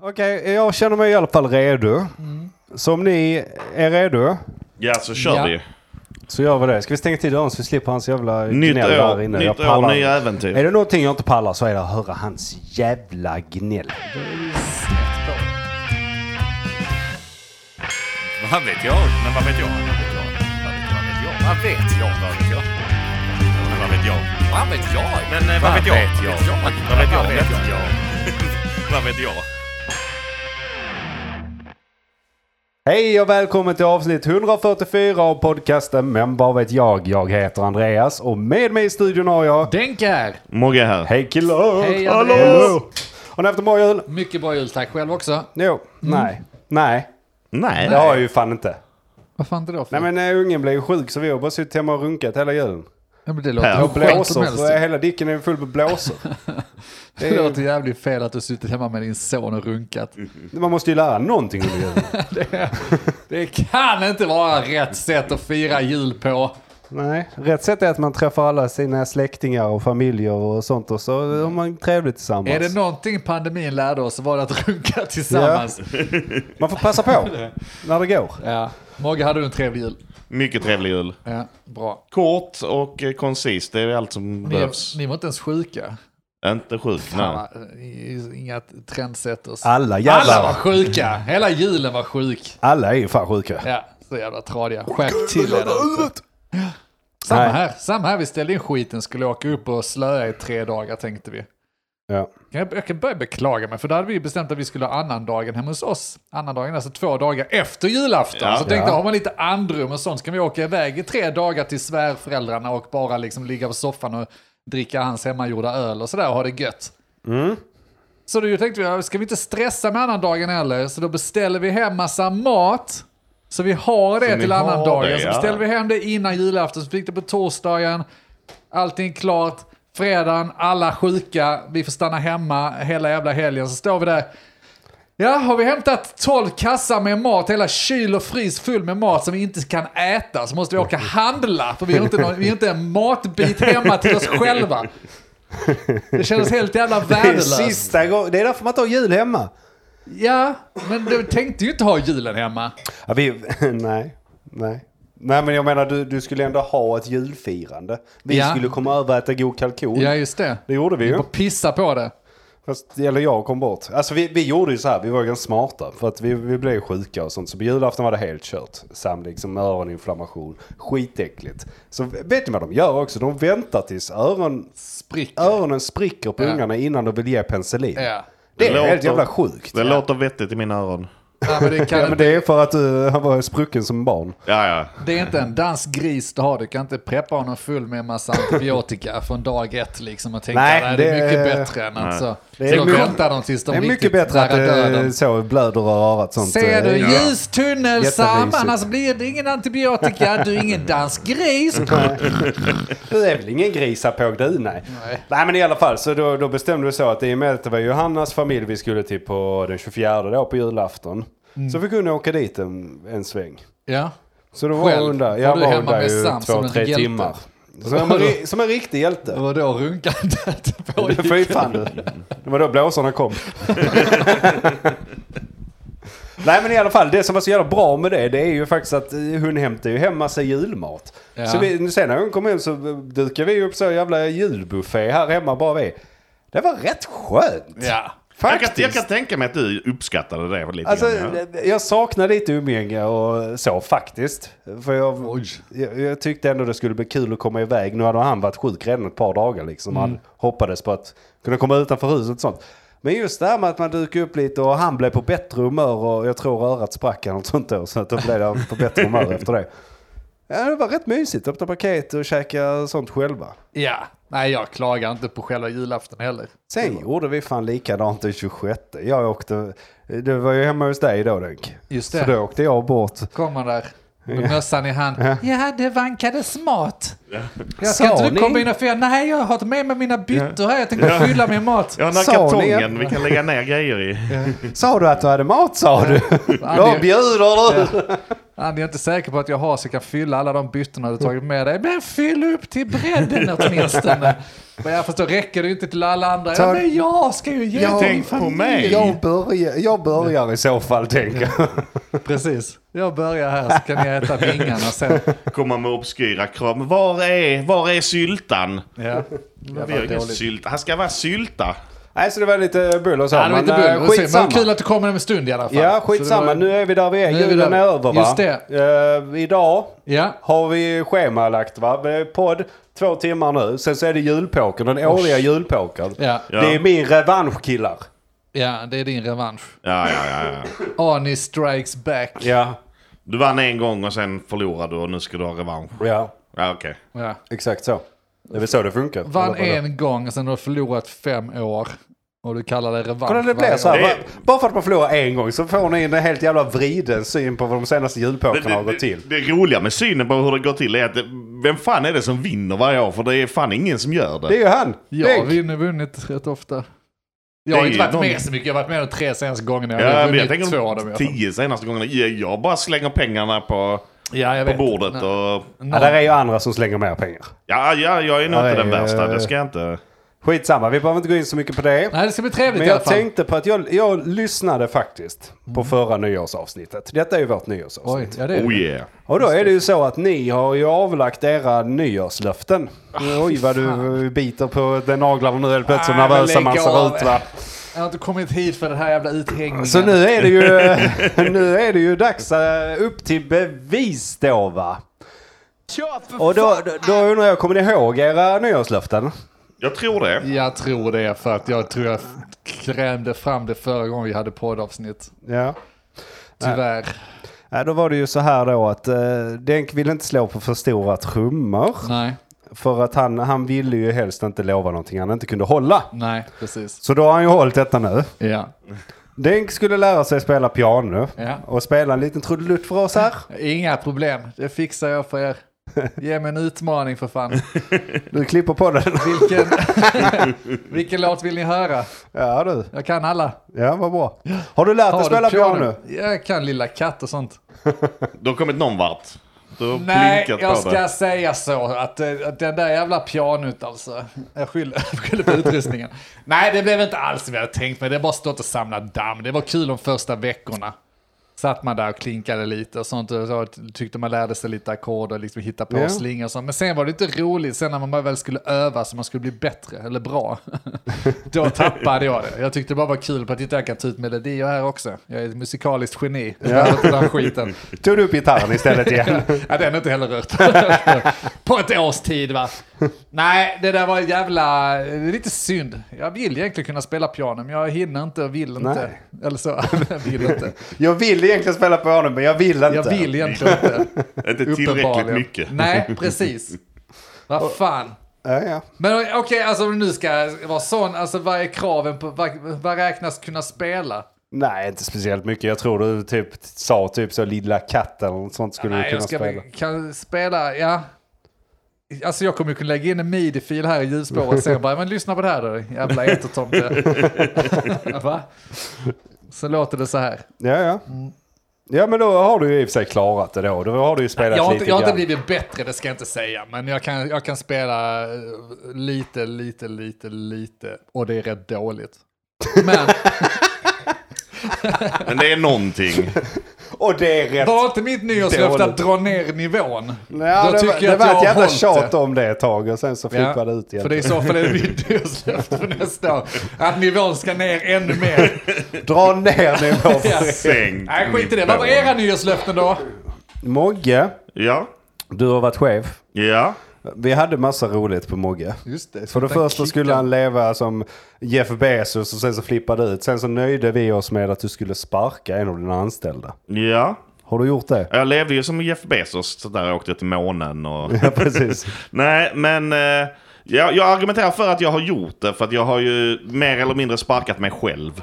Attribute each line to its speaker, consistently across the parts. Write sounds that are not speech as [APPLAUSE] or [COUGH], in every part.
Speaker 1: Okej, jag känner mig i alla fall redo.
Speaker 2: Mm.
Speaker 1: Så om ni är redo
Speaker 2: Ja, så kör
Speaker 3: Ja.
Speaker 2: vi.
Speaker 1: så gör vi det. Ska vi stänga till dörren så vi slipper hans jävla
Speaker 2: Nytt
Speaker 1: gnäll
Speaker 2: år,
Speaker 1: där inne? Jag
Speaker 2: nytt år,
Speaker 1: pallar-
Speaker 2: nya äventyr.
Speaker 1: Är det någonting jag inte pallar så är det att höra hans jävla gnäll.
Speaker 4: Vad vet jag? Men vad vet jag? Vad vet jag? Vad vet jag? Vad vet jag? Men vad vet jag? Vad vet jag? Men eh, vad vet jag? Vad vet jag? Vad vet jag? Vad vet jag?
Speaker 1: Hej och välkommen till avsnitt 144 av podcasten Men vad vet jag? Jag heter Andreas och med mig i studion har jag...
Speaker 3: Denkar!
Speaker 2: Mogge här.
Speaker 1: Hej killar!
Speaker 3: Hej,
Speaker 1: Hallå!
Speaker 3: Andreas!
Speaker 1: Har ni haft en bra jul?
Speaker 3: Mycket bra jul, tack. Själv också?
Speaker 1: Jo.
Speaker 2: Mm.
Speaker 1: Nej. Nej.
Speaker 2: Nej.
Speaker 1: Det har jag ju fan inte.
Speaker 3: Vad fan är det då för?
Speaker 1: Nej men eh, ungen blev ju sjuk så vi har bara suttit hemma och runkat hela julen.
Speaker 3: Ja, men det låter
Speaker 2: Här.
Speaker 3: hur
Speaker 1: Och
Speaker 3: skönt som
Speaker 1: blåsor,
Speaker 3: helst.
Speaker 1: för hela dicken är full med [LAUGHS] blåsor. Det
Speaker 3: Det
Speaker 1: är,
Speaker 3: låter jävligt fel att du suttit hemma med din son och runkat.
Speaker 1: man måste ju lära någonting under julen.
Speaker 3: Det kan inte vara rätt sätt att fira jul på.
Speaker 1: Nej, rätt sätt är att man träffar alla sina släktingar och familjer och sånt och så har man trevligt tillsammans.
Speaker 3: Är det någonting pandemin lärde oss så var det att runka tillsammans.
Speaker 1: Man får
Speaker 3: [LAUGHS]
Speaker 1: passa på när det går.
Speaker 3: Ja. Mogge, hade du en trevlig jul?
Speaker 2: Mycket trevlig jul.
Speaker 3: Ja, bra.
Speaker 2: Kort och eh, koncis, det är allt som
Speaker 3: Ni,
Speaker 2: behövs.
Speaker 3: ni var inte ens sjuka?
Speaker 2: Inte sjuk, nej.
Speaker 3: Fan, eh, Inga trendsetters.
Speaker 1: Alla
Speaker 3: Alla var
Speaker 1: Ah, jävlar.
Speaker 3: sjuka! Hela julen var sjuk.
Speaker 1: Alla är ju fan sjuka.
Speaker 3: Ja, så jävla tradiga. Skärp till er där ute. Samma
Speaker 1: Nej.
Speaker 3: här, samma här. Vi ställde in skiten, skulle åka upp och slöa i tre dagar tänkte vi.
Speaker 1: Ja.
Speaker 3: Jag, jag kan börja beklaga mig, för då hade vi ju bestämt att vi skulle ha annandagen hemma hos oss. Annandagen, alltså två dagar efter julafton.
Speaker 2: Ja.
Speaker 3: så tänkte jag,
Speaker 1: Ja.
Speaker 3: har man lite andrum och sånt, så kan vi åka iväg i tre dagar till svärföräldrarna och bara liksom ligga på soffan och dricka hans hemmagjorda öl och sådär och ha det gött. Så då tänkte vi, ja, ska vi inte stressa med annandagen heller? Så då beställer vi hem massa mat. Så vi har det till
Speaker 2: har
Speaker 3: annandagen.
Speaker 2: det,
Speaker 3: Så
Speaker 2: ja.
Speaker 3: beställer vi hem det innan julafton. Så fick det på torsdagen. Allting klart. Fredagen, alla sjuka. Vi får stanna hemma hela jävla helgen. Så står vi där. Ja, har vi hämtat 12 kassar med mat, hela kyl och frys full med mat som vi inte kan äta, så måste vi åka handla, för vi har inte, någon, vi har inte en matbit hemma till oss själva. Det kändes helt jävla
Speaker 1: Det är,
Speaker 3: värdelöst.
Speaker 1: sista gång, det är därför man inte har jul hemma.
Speaker 3: Ja, men du tänkte ju inte ha julen hemma.
Speaker 1: Ja, vi, [LAUGHS] nej, nej. Nej men jag menar du, du skulle ändå ha ett julfirande. Vi
Speaker 3: Ja.
Speaker 1: skulle komma över och äta god kalkon.
Speaker 3: Ja, just det.
Speaker 1: Det gjorde vi ju.
Speaker 3: Och pissa på det.
Speaker 1: Fast, eller jag kom bort. Alltså vi, vi gjorde ju så här, vi var ganska smarta. För att vi, vi blev sjuka och sånt. Så på julafton var det helt kört. Sam liksom öroninflammation. Skitäckligt. Så vet ni vad de gör också? De väntar tills öron,
Speaker 3: Spricka.
Speaker 1: öronen spricker på
Speaker 3: Ja.
Speaker 1: ungarna innan de vill ge penicillin.
Speaker 3: Ja.
Speaker 1: Det är
Speaker 2: Det
Speaker 1: helt
Speaker 2: låter-
Speaker 1: jävla sjukt.
Speaker 2: Det låter vettigt i mina öron.
Speaker 3: ja, men det, kan,
Speaker 1: Ja men det är för att uh, han var sprucken som barn.
Speaker 2: Ja, ja.
Speaker 3: det är inte en dansk gris du har. Du kan inte preppa honom full med en massa antibiotika från dag ett liksom och tänka
Speaker 1: Nej,
Speaker 3: att det är
Speaker 1: det-
Speaker 3: mycket bättre än alltså.
Speaker 1: Det är
Speaker 3: Så då
Speaker 1: mycket-
Speaker 3: väntar de tills de
Speaker 1: det är mycket
Speaker 3: riktigt
Speaker 1: bättre att
Speaker 3: nära
Speaker 1: det
Speaker 3: döden.
Speaker 1: så blöder och örat sånt.
Speaker 3: Ser du
Speaker 1: eh,
Speaker 3: ljustunnel Sam,
Speaker 1: Jättemysigt.
Speaker 3: annars blir det ingen antibiotika, du är ingen dansk
Speaker 1: [LAUGHS]
Speaker 3: gris.
Speaker 1: Du är väl ingen grisapåg du, nej. nej. Nej, men i alla fall så då, då bestämde vi så att i och med att det var Johannas familj vi skulle till på den 24 då på julafton.
Speaker 3: Mm.
Speaker 1: Så fick hon åka dit en, en sväng.
Speaker 3: Ja,
Speaker 1: Så då var
Speaker 3: Själv?
Speaker 1: hon där,
Speaker 3: Var
Speaker 1: jag
Speaker 3: du
Speaker 1: var, hon
Speaker 3: hemma
Speaker 1: där
Speaker 3: med
Speaker 1: ju
Speaker 3: Sam som
Speaker 1: två,
Speaker 3: en
Speaker 1: tre
Speaker 3: hjälte?
Speaker 1: timmar. Som en, ri- som en riktig
Speaker 3: det
Speaker 1: hjälte.
Speaker 3: var då runkandet pågick.
Speaker 1: Fy fan du. Det var då blåsorna kom. Nej men i alla fall, det som var så jävla bra med det, det är ju faktiskt att eh, hon hämtar ju hem massa julmat.
Speaker 3: Ja.
Speaker 1: Så vi, sen när hon kom hem så dukade vi upp så jävla julbuffé här hemma bara vi. Det var rätt skönt.
Speaker 3: Ja.
Speaker 2: Jag kan,
Speaker 1: Faktiskt.
Speaker 2: jag kan tänka mig att du uppskattade det lite
Speaker 1: Alltså,
Speaker 2: grann. ja.
Speaker 1: jag saknar lite umgänge och så faktiskt. För jag,
Speaker 3: Oj.
Speaker 1: jag, jag tyckte ändå det skulle bli kul att komma iväg. Nu hade han varit sjuk redan ett par dagar liksom. Han
Speaker 3: Mm.
Speaker 1: hoppades på att kunna komma utanför huset och sånt. Men just det här med att man dyker upp lite och han blev på bättre humör och jag tror örat sprack eller något sånt då. Så att då blev han på bättre humör efter det. Ja, det var rätt mysigt. Öppna paket och käka sånt själva.
Speaker 3: Ja, nej jag klagar inte på själva julafton heller.
Speaker 1: Sen gjorde vi fan likadant den 26. Jag åkte, det var ju hemma hos dig då Denk.
Speaker 3: Just
Speaker 1: Så
Speaker 3: det.
Speaker 1: då åkte jag bort.
Speaker 3: Kom han där med mössan i hand. Ja, det vankades mat. Jag
Speaker 1: Sa
Speaker 3: ska inte
Speaker 1: ni?
Speaker 3: du komma in och fira? Nej, jag har med mig mina byttor här. Jag tänkte fylla min mat.
Speaker 2: Jag har den här
Speaker 1: Sa ni
Speaker 2: kartongen
Speaker 1: att-
Speaker 2: vi kan lägga ner grejer i.
Speaker 1: Sa du att du hade mat sa du?
Speaker 3: Ja, det-
Speaker 1: Jag bjuder du!
Speaker 3: Andy, jag är inte säker på att jag har så jag kan fylla alla de byttorna du tagit med dig. Men fyll upp till [LAUGHS] bredden åtminstone. Men jag förstår, räcker det ju inte till alla andra.
Speaker 1: Ta-
Speaker 3: Ja, men jag ska ju ge
Speaker 1: Ja,
Speaker 3: till min
Speaker 2: tänk på
Speaker 3: familj.
Speaker 2: mig.
Speaker 1: Jag börjar, jag börjar i så fall tänker jag.
Speaker 3: Precis. Jag börjar här så kan ni äta ringarna sen.
Speaker 2: Komma med obskyra krav. Men Var är, var är syltan?
Speaker 3: Ja.
Speaker 2: Vi har ingen sylta. Han ska vara sylta.
Speaker 1: Nej, så det var lite bull och så.
Speaker 3: Ja, det var
Speaker 1: men,
Speaker 3: inte bull.
Speaker 1: eh,
Speaker 3: Det var synd, Men
Speaker 1: skitsamma.
Speaker 3: kul att du kommer med en stund i alla fall.
Speaker 1: Ja,
Speaker 3: Så det
Speaker 1: skitsamma.
Speaker 3: var-
Speaker 1: Nu är vi där vi är.
Speaker 3: Nu är vi
Speaker 1: Julen
Speaker 3: där.
Speaker 1: är över va?
Speaker 3: Just
Speaker 1: Eh, idag
Speaker 3: Ja.
Speaker 1: har vi schemalagt va? Det är Podd två timmar nu. Sen så är det julpokern, den årliga julpokern.
Speaker 3: Ja.
Speaker 2: Ja.
Speaker 1: Det är min revansch killar.
Speaker 3: ja, det är din revansch.
Speaker 2: Ja, ja, ja, ja.
Speaker 3: Arnie strikes back.
Speaker 1: Ja,
Speaker 2: Du vann en gång och sen förlorade du och nu ska du ha revansch.
Speaker 1: ja
Speaker 2: Ja, okej.
Speaker 3: Ja.
Speaker 1: exakt så. Det är väl så det funkar.
Speaker 3: Vann
Speaker 1: Eller vadå?
Speaker 3: en gång, sen har du förlorat fem år. Och du kallar det revansch.
Speaker 1: Kolla det blir
Speaker 3: varje
Speaker 1: så
Speaker 3: år.
Speaker 1: här.
Speaker 2: Det-
Speaker 1: va? Bara för att man förlorar en gång så får ni en helt jävla vriden syn på vad de senaste julpokerna har
Speaker 2: Det,
Speaker 1: gått
Speaker 2: det,
Speaker 1: till.
Speaker 2: det roliga med synen på hur det går till är att det, vem fan är det som vinner varje år? För det är fan ingen som gör
Speaker 1: Det är
Speaker 2: det.
Speaker 1: ju han!
Speaker 3: Jag
Speaker 1: Tänk.
Speaker 3: har ju vunnit rätt ofta. Jag har
Speaker 2: Det är
Speaker 3: inte varit
Speaker 2: ju någon-
Speaker 3: med så mycket. Jag har varit med de tre senaste gångerna. Jag
Speaker 2: Ja,
Speaker 3: har
Speaker 2: men jag
Speaker 3: vunnit
Speaker 2: tänker
Speaker 3: två av dem.
Speaker 2: de
Speaker 3: i alla fall.
Speaker 2: tio senaste gångerna. Ja, Jag bara slänger pengarna på,
Speaker 3: Ja, jag
Speaker 2: på
Speaker 3: vet.
Speaker 2: bordet
Speaker 3: Nej.
Speaker 2: och...
Speaker 1: Ja, där är ju andra som slänger mer pengar.
Speaker 2: Ja, ja, jag är nog
Speaker 1: Nej,
Speaker 2: inte den värsta.
Speaker 1: eh,
Speaker 2: Det ska jag inte...
Speaker 1: Skitsamma, vi behöver inte gå in så mycket på det.
Speaker 3: Nej, det ska bli trevligt
Speaker 1: Men
Speaker 3: i alla
Speaker 1: jag
Speaker 3: fall. Mm.
Speaker 1: tänkte på att jag, jag lyssnade faktiskt på förra nyårsavsnittet. Detta är ju vårt
Speaker 3: Oj,
Speaker 1: nyårsavsnitt.
Speaker 3: ja, det är
Speaker 2: Oh
Speaker 3: det.
Speaker 2: yeah.
Speaker 1: Och då är det ju så att ni har ju avlagt era nyårslöften.
Speaker 3: Ah,
Speaker 1: Oj vad du biter på den naglarna nu helt plötsligt
Speaker 3: Ah, men
Speaker 1: nervösa man
Speaker 3: lägg
Speaker 1: ser
Speaker 3: av.
Speaker 1: ut va.
Speaker 3: Jag har inte kommit hit för den här jävla uthängningen.
Speaker 1: Så nu är det
Speaker 3: [LAUGHS]
Speaker 1: ju, nu är det ju dags eh, upp till bevis då va. Och då, då- då undrar jag, kommer ni ihåg era nyårslöften?
Speaker 2: Jag tror det.
Speaker 3: Jag tror det, för att jag tror jag krämde fram det förra gången vi hade poddavsnitt.
Speaker 1: Ja.
Speaker 3: Tyvärr.
Speaker 1: Ja, då var det ju så här då att eh, Denk ville inte slå på för stora trummor.
Speaker 3: Nej,
Speaker 1: För att han, han ville ju helst inte lova någonting han inte kunde hålla.
Speaker 3: nej, precis.
Speaker 1: Så då har han ju hållit detta nu.
Speaker 3: Ja.
Speaker 1: Denk skulle lära sig spela piano.
Speaker 3: Ja.
Speaker 1: Och spela en liten trudelutt för oss här.
Speaker 3: Inga problem, det fixar jag för er. Ge mig en utmaning för fan.
Speaker 1: Du klipper på den. [LAUGHS]
Speaker 3: Vilken, [LAUGHS] vilken låt vill ni höra?
Speaker 1: Ja du.
Speaker 3: Jag kan alla.
Speaker 1: Ja vad bra. Har du lärt dig spela piano?
Speaker 3: Jag kan Lilla Katt och sånt.
Speaker 2: Du har kommit någon vart. Du har
Speaker 3: Nej,
Speaker 2: blinkat
Speaker 3: jag
Speaker 2: på
Speaker 3: ska
Speaker 2: det.
Speaker 3: säga så. Att, eh, att den där jävla pianot alltså. Jag skyller, [LAUGHS] jag skyller på utrustningen. Nej, det blev inte alls vad jag hade tänkt mig. Det har bara stått och samlat damm. Det var kul de första veckorna. Satt man där och klinkade lite och sånt. Och så tyckte man lärde sig lite ackord och liksom hitta på
Speaker 1: Ja.
Speaker 3: slingor och sånt. Men sen var det inte roligt. Sen när man bara väl skulle öva så man skulle bli bättre eller bra. [LAUGHS] då tappade jag det. Jag tyckte det bara var kul på att titta, jag kan ta ut melodier här också. Jag är ett musikaliskt geni. Jag lär mig den här skiten.
Speaker 1: Tog du upp gitarren istället igen?
Speaker 3: [LAUGHS] Ja, den är inte heller rört. på ett års tid va? Nej, det där var jävla... Det är lite synd. Jag vill egentligen kunna spela piano, men jag hinner inte och vill inte.
Speaker 1: Nej.
Speaker 3: Eller så, [LAUGHS] jag vill inte.
Speaker 1: Jag vill egentligen spela piano men jag vill inte.
Speaker 3: Jag vill egentligen inte.
Speaker 2: Inte tillräckligt
Speaker 3: uppenbarligen.
Speaker 2: mycket.
Speaker 3: Nej, precis. Vad fan.
Speaker 1: Ja, ja.
Speaker 3: Men okej, alltså om du nu ska vara sån, alltså vad är kraven på, vad, vad räknas kunna spela?
Speaker 1: Nej inte speciellt mycket. Jag tror du typ sa typ så lilla katten eller något sånt skulle du
Speaker 3: Nej,
Speaker 1: kunna
Speaker 3: jag ska
Speaker 1: spela.
Speaker 3: Kan spela, ja. Alltså jag kommer ju kunna lägga in en midi-fil här i ljudspåret sen bara, men lyssna på det här då, jävla
Speaker 1: [LAUGHS]
Speaker 3: entertomte. Va? Så låter det så här.
Speaker 1: Ja, ja. Mm. Ja, men då har du ju i och för sig klarat det då. Då har du ju spelat
Speaker 3: Jag har,
Speaker 1: lite
Speaker 3: inte, jag har inte
Speaker 1: grann.
Speaker 3: blivit bättre, det ska jag inte säga, men jag kan, jag kan spela eh, lite, lite, lite, lite, och det är rätt dåligt. Men
Speaker 2: Men det är
Speaker 3: [LAUGHS]
Speaker 2: någonting.
Speaker 1: Och det är [LAUGHS] rätt.
Speaker 3: var inte mitt nyårslöfte
Speaker 1: Dåligt.
Speaker 3: att dra ner nivån?
Speaker 1: Ja, det, var- det
Speaker 3: att
Speaker 1: var
Speaker 3: jag
Speaker 1: ett
Speaker 3: har
Speaker 1: jävla
Speaker 3: hållit det.
Speaker 1: tjat om det ett tag och sen så flippade det ut igen.
Speaker 3: För det är i så fall är det mitt nyårslöfte för nästa år. Att nivån ska ner ännu mer.
Speaker 1: Dra ner
Speaker 3: [LAUGHS]
Speaker 1: nivån.
Speaker 2: Sänkt
Speaker 3: Nej, skit i det. Vad var
Speaker 2: nivå.
Speaker 3: era nyårslöften då? [LAUGHS]
Speaker 1: Mogge,
Speaker 2: Ja.
Speaker 1: du har varit chef.
Speaker 2: Ja.
Speaker 1: Vi hade massa roligt på Mogge.
Speaker 3: Just det.
Speaker 1: För det första skulle han leva som Jeff Bezos och sen så flippade det ut. Sen så nöjde vi oss med att du skulle sparka en av dina anställda.
Speaker 2: Ja.
Speaker 1: Har du gjort det?
Speaker 2: Jag levde ju som Jeff Bezos. Så där jag åkte till månen och...
Speaker 3: [LAUGHS]
Speaker 1: Ja, precis.
Speaker 2: Nej, men... eh, Jag, jag
Speaker 3: [LAUGHS]
Speaker 2: argumenterar för att jag har gjort det. För att jag har ju mer eller mindre sparkat mig själv.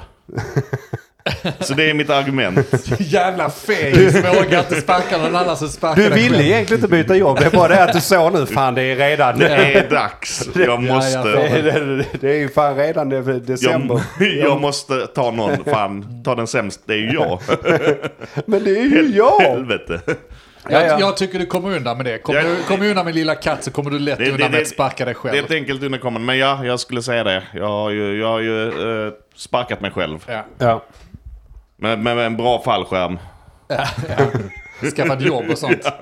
Speaker 2: Så det är mitt argument.
Speaker 3: Jävla fegis, vågar inte sparka någon annan som sparkar
Speaker 1: Du
Speaker 3: dig
Speaker 1: ville
Speaker 3: själv.
Speaker 1: egentligen inte byta jobb. Det är bara det att du såg nu, fan det är redan...
Speaker 2: Det
Speaker 1: Det
Speaker 2: är dags. Jag måste...
Speaker 1: är, det, det är ju fan redan det är
Speaker 2: Jag,
Speaker 1: december.
Speaker 2: [LAUGHS] jag måste ta någon. Fan, ta den sämst. Det är ju
Speaker 3: [LAUGHS]
Speaker 2: jag.
Speaker 1: Men det är ju jag!
Speaker 2: Helvete.
Speaker 1: Ja, ja.
Speaker 3: Jag, jag tycker du kommer undan med det. Kommer,
Speaker 2: Ja.
Speaker 3: du, kommer du undan med lilla katt så kommer du lätt
Speaker 2: Det- det-
Speaker 3: undan med
Speaker 2: det-
Speaker 3: att sparka dig själv.
Speaker 2: Det är ett enkelt underkommande. Men ja, jag skulle säga det. Jag har ju, jag har ju eh, sparkat mig själv.
Speaker 3: ja.
Speaker 1: Ja.
Speaker 2: Med, med, med en bra fallskärm.
Speaker 3: Skaffa ett jobb
Speaker 1: [LAUGHS]
Speaker 3: och sånt. Ja.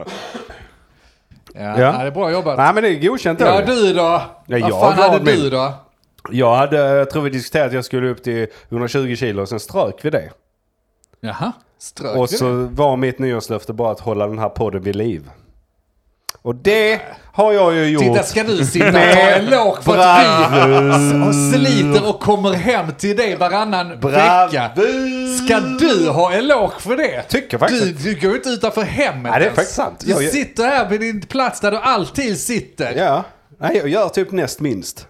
Speaker 1: Ja.
Speaker 3: nej, det är bra jobbat.
Speaker 1: Nej men det är godkänt då.
Speaker 3: Ja, du då?
Speaker 1: jag
Speaker 3: Vad fan
Speaker 1: gav
Speaker 3: hade du
Speaker 1: min.
Speaker 3: då?
Speaker 1: Jag, hade, jag tror vi diskuterade att jag skulle upp till 120 kilo och sen strök vi det.
Speaker 3: Jaha, strök
Speaker 1: Och
Speaker 3: vi
Speaker 1: så var mitt nyårslöfte bara att hålla den här podden vid liv. Och det har jag ju gjort.
Speaker 3: det? Titta, ska du sitta och ta
Speaker 1: Nej,
Speaker 3: en låg för att vi och sliter och kommer hem till dig varannan vecka?
Speaker 1: Bravur!
Speaker 3: Ska du ha eloge för det?
Speaker 1: Tycker faktiskt
Speaker 3: Du, du går ju inte utanför hemmet
Speaker 1: Nej, det är
Speaker 3: ens.
Speaker 1: faktiskt sant.
Speaker 3: Du
Speaker 1: Jag- jag-
Speaker 3: sitter här vid din plats där du alltid sitter.
Speaker 1: Ja. Nej, jag gör typ näst minst.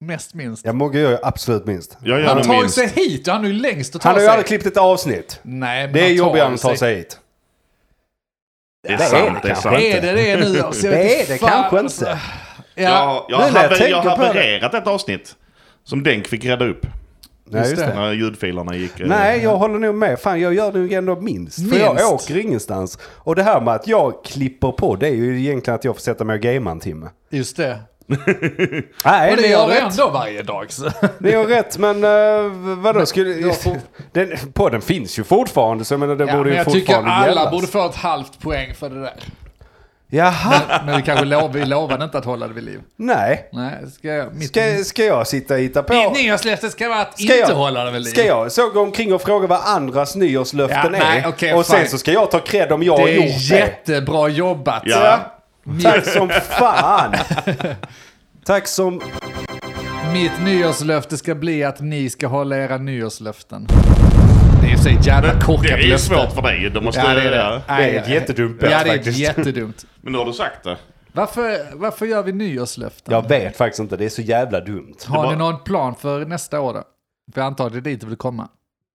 Speaker 3: Mest minst.
Speaker 1: Jag Mogge gör ju absolut minst.
Speaker 2: Jag gör
Speaker 3: Han
Speaker 2: nog
Speaker 3: tar ju
Speaker 2: minst.
Speaker 3: sig hit och han är ju längst att ta
Speaker 1: Han har ju
Speaker 3: sig.
Speaker 1: aldrig klippt ett avsnitt.
Speaker 3: Nej, men
Speaker 1: Det är
Speaker 3: han tar
Speaker 1: jobbigare än att ta sig hit.
Speaker 2: Det är sant. Det är sant.
Speaker 3: Är det det
Speaker 1: [LAUGHS]
Speaker 3: nu? Alltså, jag vet
Speaker 1: Det är
Speaker 3: inte
Speaker 1: det
Speaker 3: fan,
Speaker 1: kanske
Speaker 3: alltså.
Speaker 1: inte.
Speaker 3: Ja,
Speaker 2: Jag, jag,
Speaker 1: Nu när jag
Speaker 2: haver, jag
Speaker 1: tänker på det.
Speaker 2: havererat ett avsnitt. Som Denk fick rädda upp.
Speaker 1: Nej, just
Speaker 3: det.
Speaker 1: det.
Speaker 2: När ljudfilerna gick. eh,
Speaker 1: Nej, jag håller nog med. Fan, jag gör det ju ändå minst. För jag
Speaker 3: Minst.
Speaker 1: åker ingenstans. Och det här med att jag klipper på, det är ju egentligen att jag får sätta mig och gamea en timme.
Speaker 3: just det.
Speaker 1: Nej,
Speaker 3: Och det
Speaker 1: ni
Speaker 3: gör
Speaker 1: har
Speaker 3: du
Speaker 1: rätt.
Speaker 3: ändå varje dag. Så.
Speaker 1: Ni har rätt, men uh, vadå? Skulle,
Speaker 3: jag får-
Speaker 1: [LAUGHS] den, podden finns ju fortfarande, så jag menar, det
Speaker 3: Ja,
Speaker 1: borde
Speaker 3: men
Speaker 1: ju
Speaker 3: jag tycker
Speaker 1: fortfarande
Speaker 3: alla
Speaker 1: gällas.
Speaker 3: borde få ett halvt poäng för det där.
Speaker 1: Jaha,
Speaker 3: Men vi kanske lov, vi lovade inte att hålla det vid liv.
Speaker 1: nej.
Speaker 3: Nej, ska jag... Mitt,
Speaker 1: Ska, ska jag sitta och hitta på?
Speaker 3: mitt nyårslöfte ska vara att
Speaker 1: Ska
Speaker 3: inte
Speaker 1: jag,
Speaker 3: hålla det vid liv.
Speaker 1: ska jag så gå omkring och fråga vad andras nyårslöften är?
Speaker 3: Ja, nej, okej,
Speaker 1: och sen
Speaker 3: fine.
Speaker 1: så ska jag ta cred om jag har
Speaker 3: Det
Speaker 1: gjort
Speaker 3: är jättebra jobbat.
Speaker 2: Ja.
Speaker 1: det. Tack som fan! [LAUGHS] Tack som...
Speaker 3: Mitt nyårslöfte ska bli att ni ska hålla era nyårslöften. Det är ju så jävla
Speaker 2: Det är
Speaker 3: korkat
Speaker 2: ju
Speaker 3: löfte.
Speaker 2: svårt för dig. Du måste,
Speaker 3: Ja, det är det.
Speaker 1: Det är ett jättedumt
Speaker 3: Ja, det är
Speaker 1: faktiskt.
Speaker 3: jättedumt.
Speaker 2: Men nu har du sagt det.
Speaker 3: Varför, varför gör vi nyårslöften?
Speaker 1: Jag vet faktiskt inte, det är så jävla dumt.
Speaker 3: Har
Speaker 2: Det var-
Speaker 3: ni någon plan för nästa år då? För jag antar att det är dit du vill komma.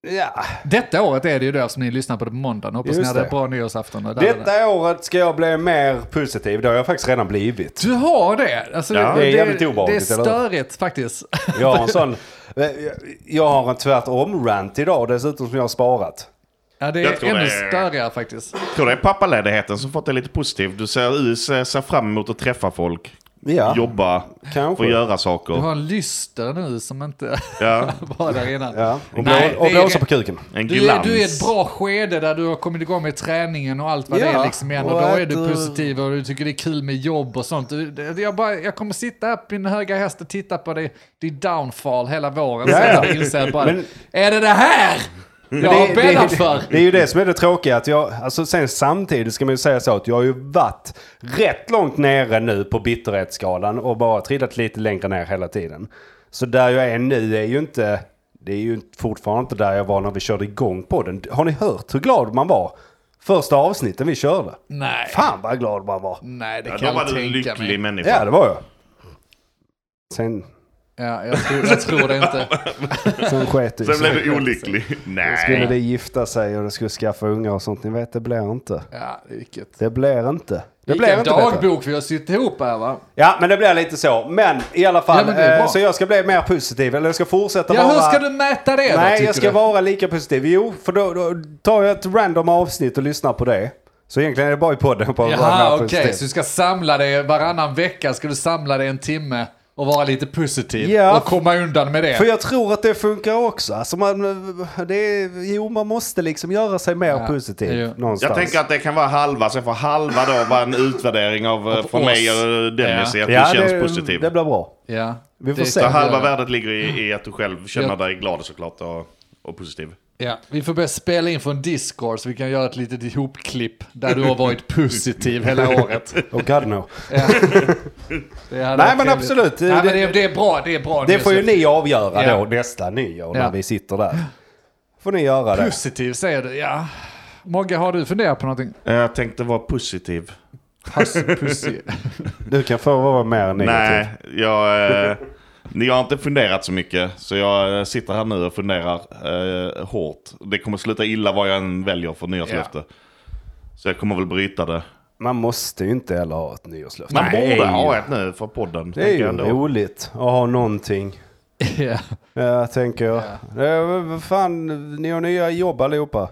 Speaker 1: Ja.
Speaker 3: Detta året är det ju då som ni lyssnar på det på måndagen. Hoppas ni
Speaker 1: Just
Speaker 3: hade
Speaker 1: det.
Speaker 3: en bra nyårsafton. Och där, där, där.
Speaker 1: Detta året ska jag bli mer positiv, det har jag faktiskt redan blivit.
Speaker 3: Du har det? Alltså,
Speaker 2: Ja.
Speaker 1: Det är jävligt obehagligt,
Speaker 3: Det är
Speaker 1: eller hur?
Speaker 3: störigt faktiskt. [LAUGHS]
Speaker 1: Jag har en [LAUGHS] sån... Jag har en tvärtom-rant idag dessutom som jag har sparat.
Speaker 3: Ja, det
Speaker 2: Jag
Speaker 3: är
Speaker 2: tror
Speaker 3: ännu
Speaker 2: det är-
Speaker 3: störigare faktiskt.
Speaker 2: Jag tror det är pappaledigheten som fått dig lite positiv. Du ser, du ser ser fram emot att träffa folk,
Speaker 1: Ja,
Speaker 2: jobba,
Speaker 1: kanske.
Speaker 2: få göra
Speaker 3: Du
Speaker 2: saker.
Speaker 3: har en lyster nu som inte [LAUGHS]
Speaker 2: Ja.
Speaker 3: var där innan.
Speaker 1: Ja. Och,
Speaker 3: Nej,
Speaker 1: blå, och
Speaker 3: det är-
Speaker 1: blåsa på kuken.
Speaker 2: En
Speaker 3: Du är,
Speaker 2: glans.
Speaker 3: du är ett bra skede där du har kommit igång med träningen och allt vad det
Speaker 1: Ja,
Speaker 3: är liksom igen. Och då
Speaker 1: och
Speaker 3: är
Speaker 1: att
Speaker 3: du
Speaker 1: du-
Speaker 3: positiv och du tycker det är kul med jobb och sånt. Du- det- Jag, bara, jag kommer sitta här på min höga häst och titta på dig, din downfall hela våren.
Speaker 1: Ja,
Speaker 3: sen
Speaker 1: ja.
Speaker 3: när jag inser bara,
Speaker 1: Men-
Speaker 3: är det det här jag har bäddat för?
Speaker 1: Det är ju det som är det tråkiga. Att jag, alltså sen samtidigt ska man ju säga så att jag har ju varit rätt långt nere nu på bitterhetsskalan och bara trillat lite längre ner hela tiden. Så där jag är nu är ju inte... Det är ju fortfarande inte där jag var när vi körde igång på den. Har ni hört hur glad man var? Första avsnitten vi körde.
Speaker 3: Nej,
Speaker 1: Fan vad glad man var.
Speaker 3: nej det
Speaker 2: Ja,
Speaker 3: kan
Speaker 2: då
Speaker 3: jag
Speaker 2: var
Speaker 3: inte
Speaker 2: du en
Speaker 3: tänka
Speaker 2: lycklig
Speaker 3: mig.
Speaker 2: människa.
Speaker 1: Ja, det var jag. Sen,
Speaker 3: Ja, jag, tror, jag tror det
Speaker 2: [LAUGHS]
Speaker 3: inte.
Speaker 1: sen sket det
Speaker 2: Sen blev
Speaker 1: sig. [LAUGHS]
Speaker 2: du olycklig.
Speaker 1: Skulle det
Speaker 2: Nej.
Speaker 1: gifta sig och det skulle skaffa unga och sånt. Ni vet, det blir inte.
Speaker 3: Ja, vilket...
Speaker 1: Det blir inte. Det blir
Speaker 3: Vilken
Speaker 1: inte bättre.
Speaker 3: dagbok vi har suttit ihop här va?
Speaker 1: Ja, men det blir lite så. Men i alla fall,
Speaker 3: Ja, men det är
Speaker 1: eh,
Speaker 3: bra.
Speaker 1: så jag ska bli mer positiv. Eller jag ska fortsätta
Speaker 3: Ja,
Speaker 1: vara...
Speaker 3: hur ska du mäta det då,
Speaker 1: Nej,
Speaker 3: tycker
Speaker 1: jag ska
Speaker 3: du?
Speaker 1: vara lika positiv. Jo, för då, då tar jag ett random avsnitt och lyssnar på det. Så egentligen är det bara i podden. jag Bara vara
Speaker 3: Jaha,
Speaker 1: mer
Speaker 3: okej.
Speaker 1: positiv.
Speaker 3: Så du ska samla dig varannan vecka, ska du samla dig en timme och vara lite positiv
Speaker 1: Ja,
Speaker 3: och komma undan med det.
Speaker 1: För jag tror att det funkar också. Alltså man, det är, jo, man måste liksom göra sig mer
Speaker 3: Ja,
Speaker 1: positiv
Speaker 3: jo.
Speaker 1: någonstans.
Speaker 2: Jag tänker att det kan vara halva, så jag får halva då vara en utvärdering av eh, från
Speaker 3: oss.
Speaker 2: mig och Dennis
Speaker 3: Ja.
Speaker 2: i att
Speaker 1: Ja,
Speaker 2: du känns
Speaker 1: det,
Speaker 2: positiv.
Speaker 1: Det blir bra.
Speaker 3: Ja.
Speaker 1: Vi får
Speaker 3: Det-
Speaker 1: se.
Speaker 2: Så
Speaker 1: Ja,
Speaker 2: halva
Speaker 3: det-
Speaker 2: värdet ligger i, i att du själv känner
Speaker 3: Jag-
Speaker 2: dig glad såklart och, och positiv.
Speaker 3: Ja. Vi får börja spela in från Discord så vi kan göra ett litet ihopklipp där du har [LAUGHS] varit positiv hela året.
Speaker 1: Och Oh, God
Speaker 3: [LAUGHS]
Speaker 1: no.
Speaker 3: Ja. Det hade
Speaker 1: Nej,
Speaker 3: varit
Speaker 1: men
Speaker 3: trevligt.
Speaker 1: absolut.
Speaker 3: Nej, men det, det är bra, det är bra.
Speaker 1: Det får ju ni avgöra
Speaker 3: Ja.
Speaker 1: då nästa nyår när
Speaker 3: Ja.
Speaker 1: vi sitter där. får ni göra det.
Speaker 3: Positiv säger du, ja. Mogge, har du funderat på någonting?
Speaker 2: Jag tänkte vara positiv.
Speaker 3: Puss, pussy.
Speaker 1: [LAUGHS] Du kan få vara mer negativ.
Speaker 2: [LAUGHS] Nej, jag... eh, Ni har inte funderat så mycket, så jag eh, sitter här nu och funderar eh, hårt. Det kommer sluta illa vad jag än väljer för nyårslöfte. Så jag kommer väl bryta det.
Speaker 1: Man måste ju inte heller ha ett nyårslöfte.
Speaker 2: Man
Speaker 1: Nej,
Speaker 2: borde ha ett nu för podden.
Speaker 1: Det är
Speaker 2: tänker
Speaker 1: ju
Speaker 2: jag ändå.
Speaker 1: roligt att ha någonting.
Speaker 3: [LAUGHS] Ja.
Speaker 1: Ja, tänker jag. Ja. Vad fan, ni har nya jobb allihopa.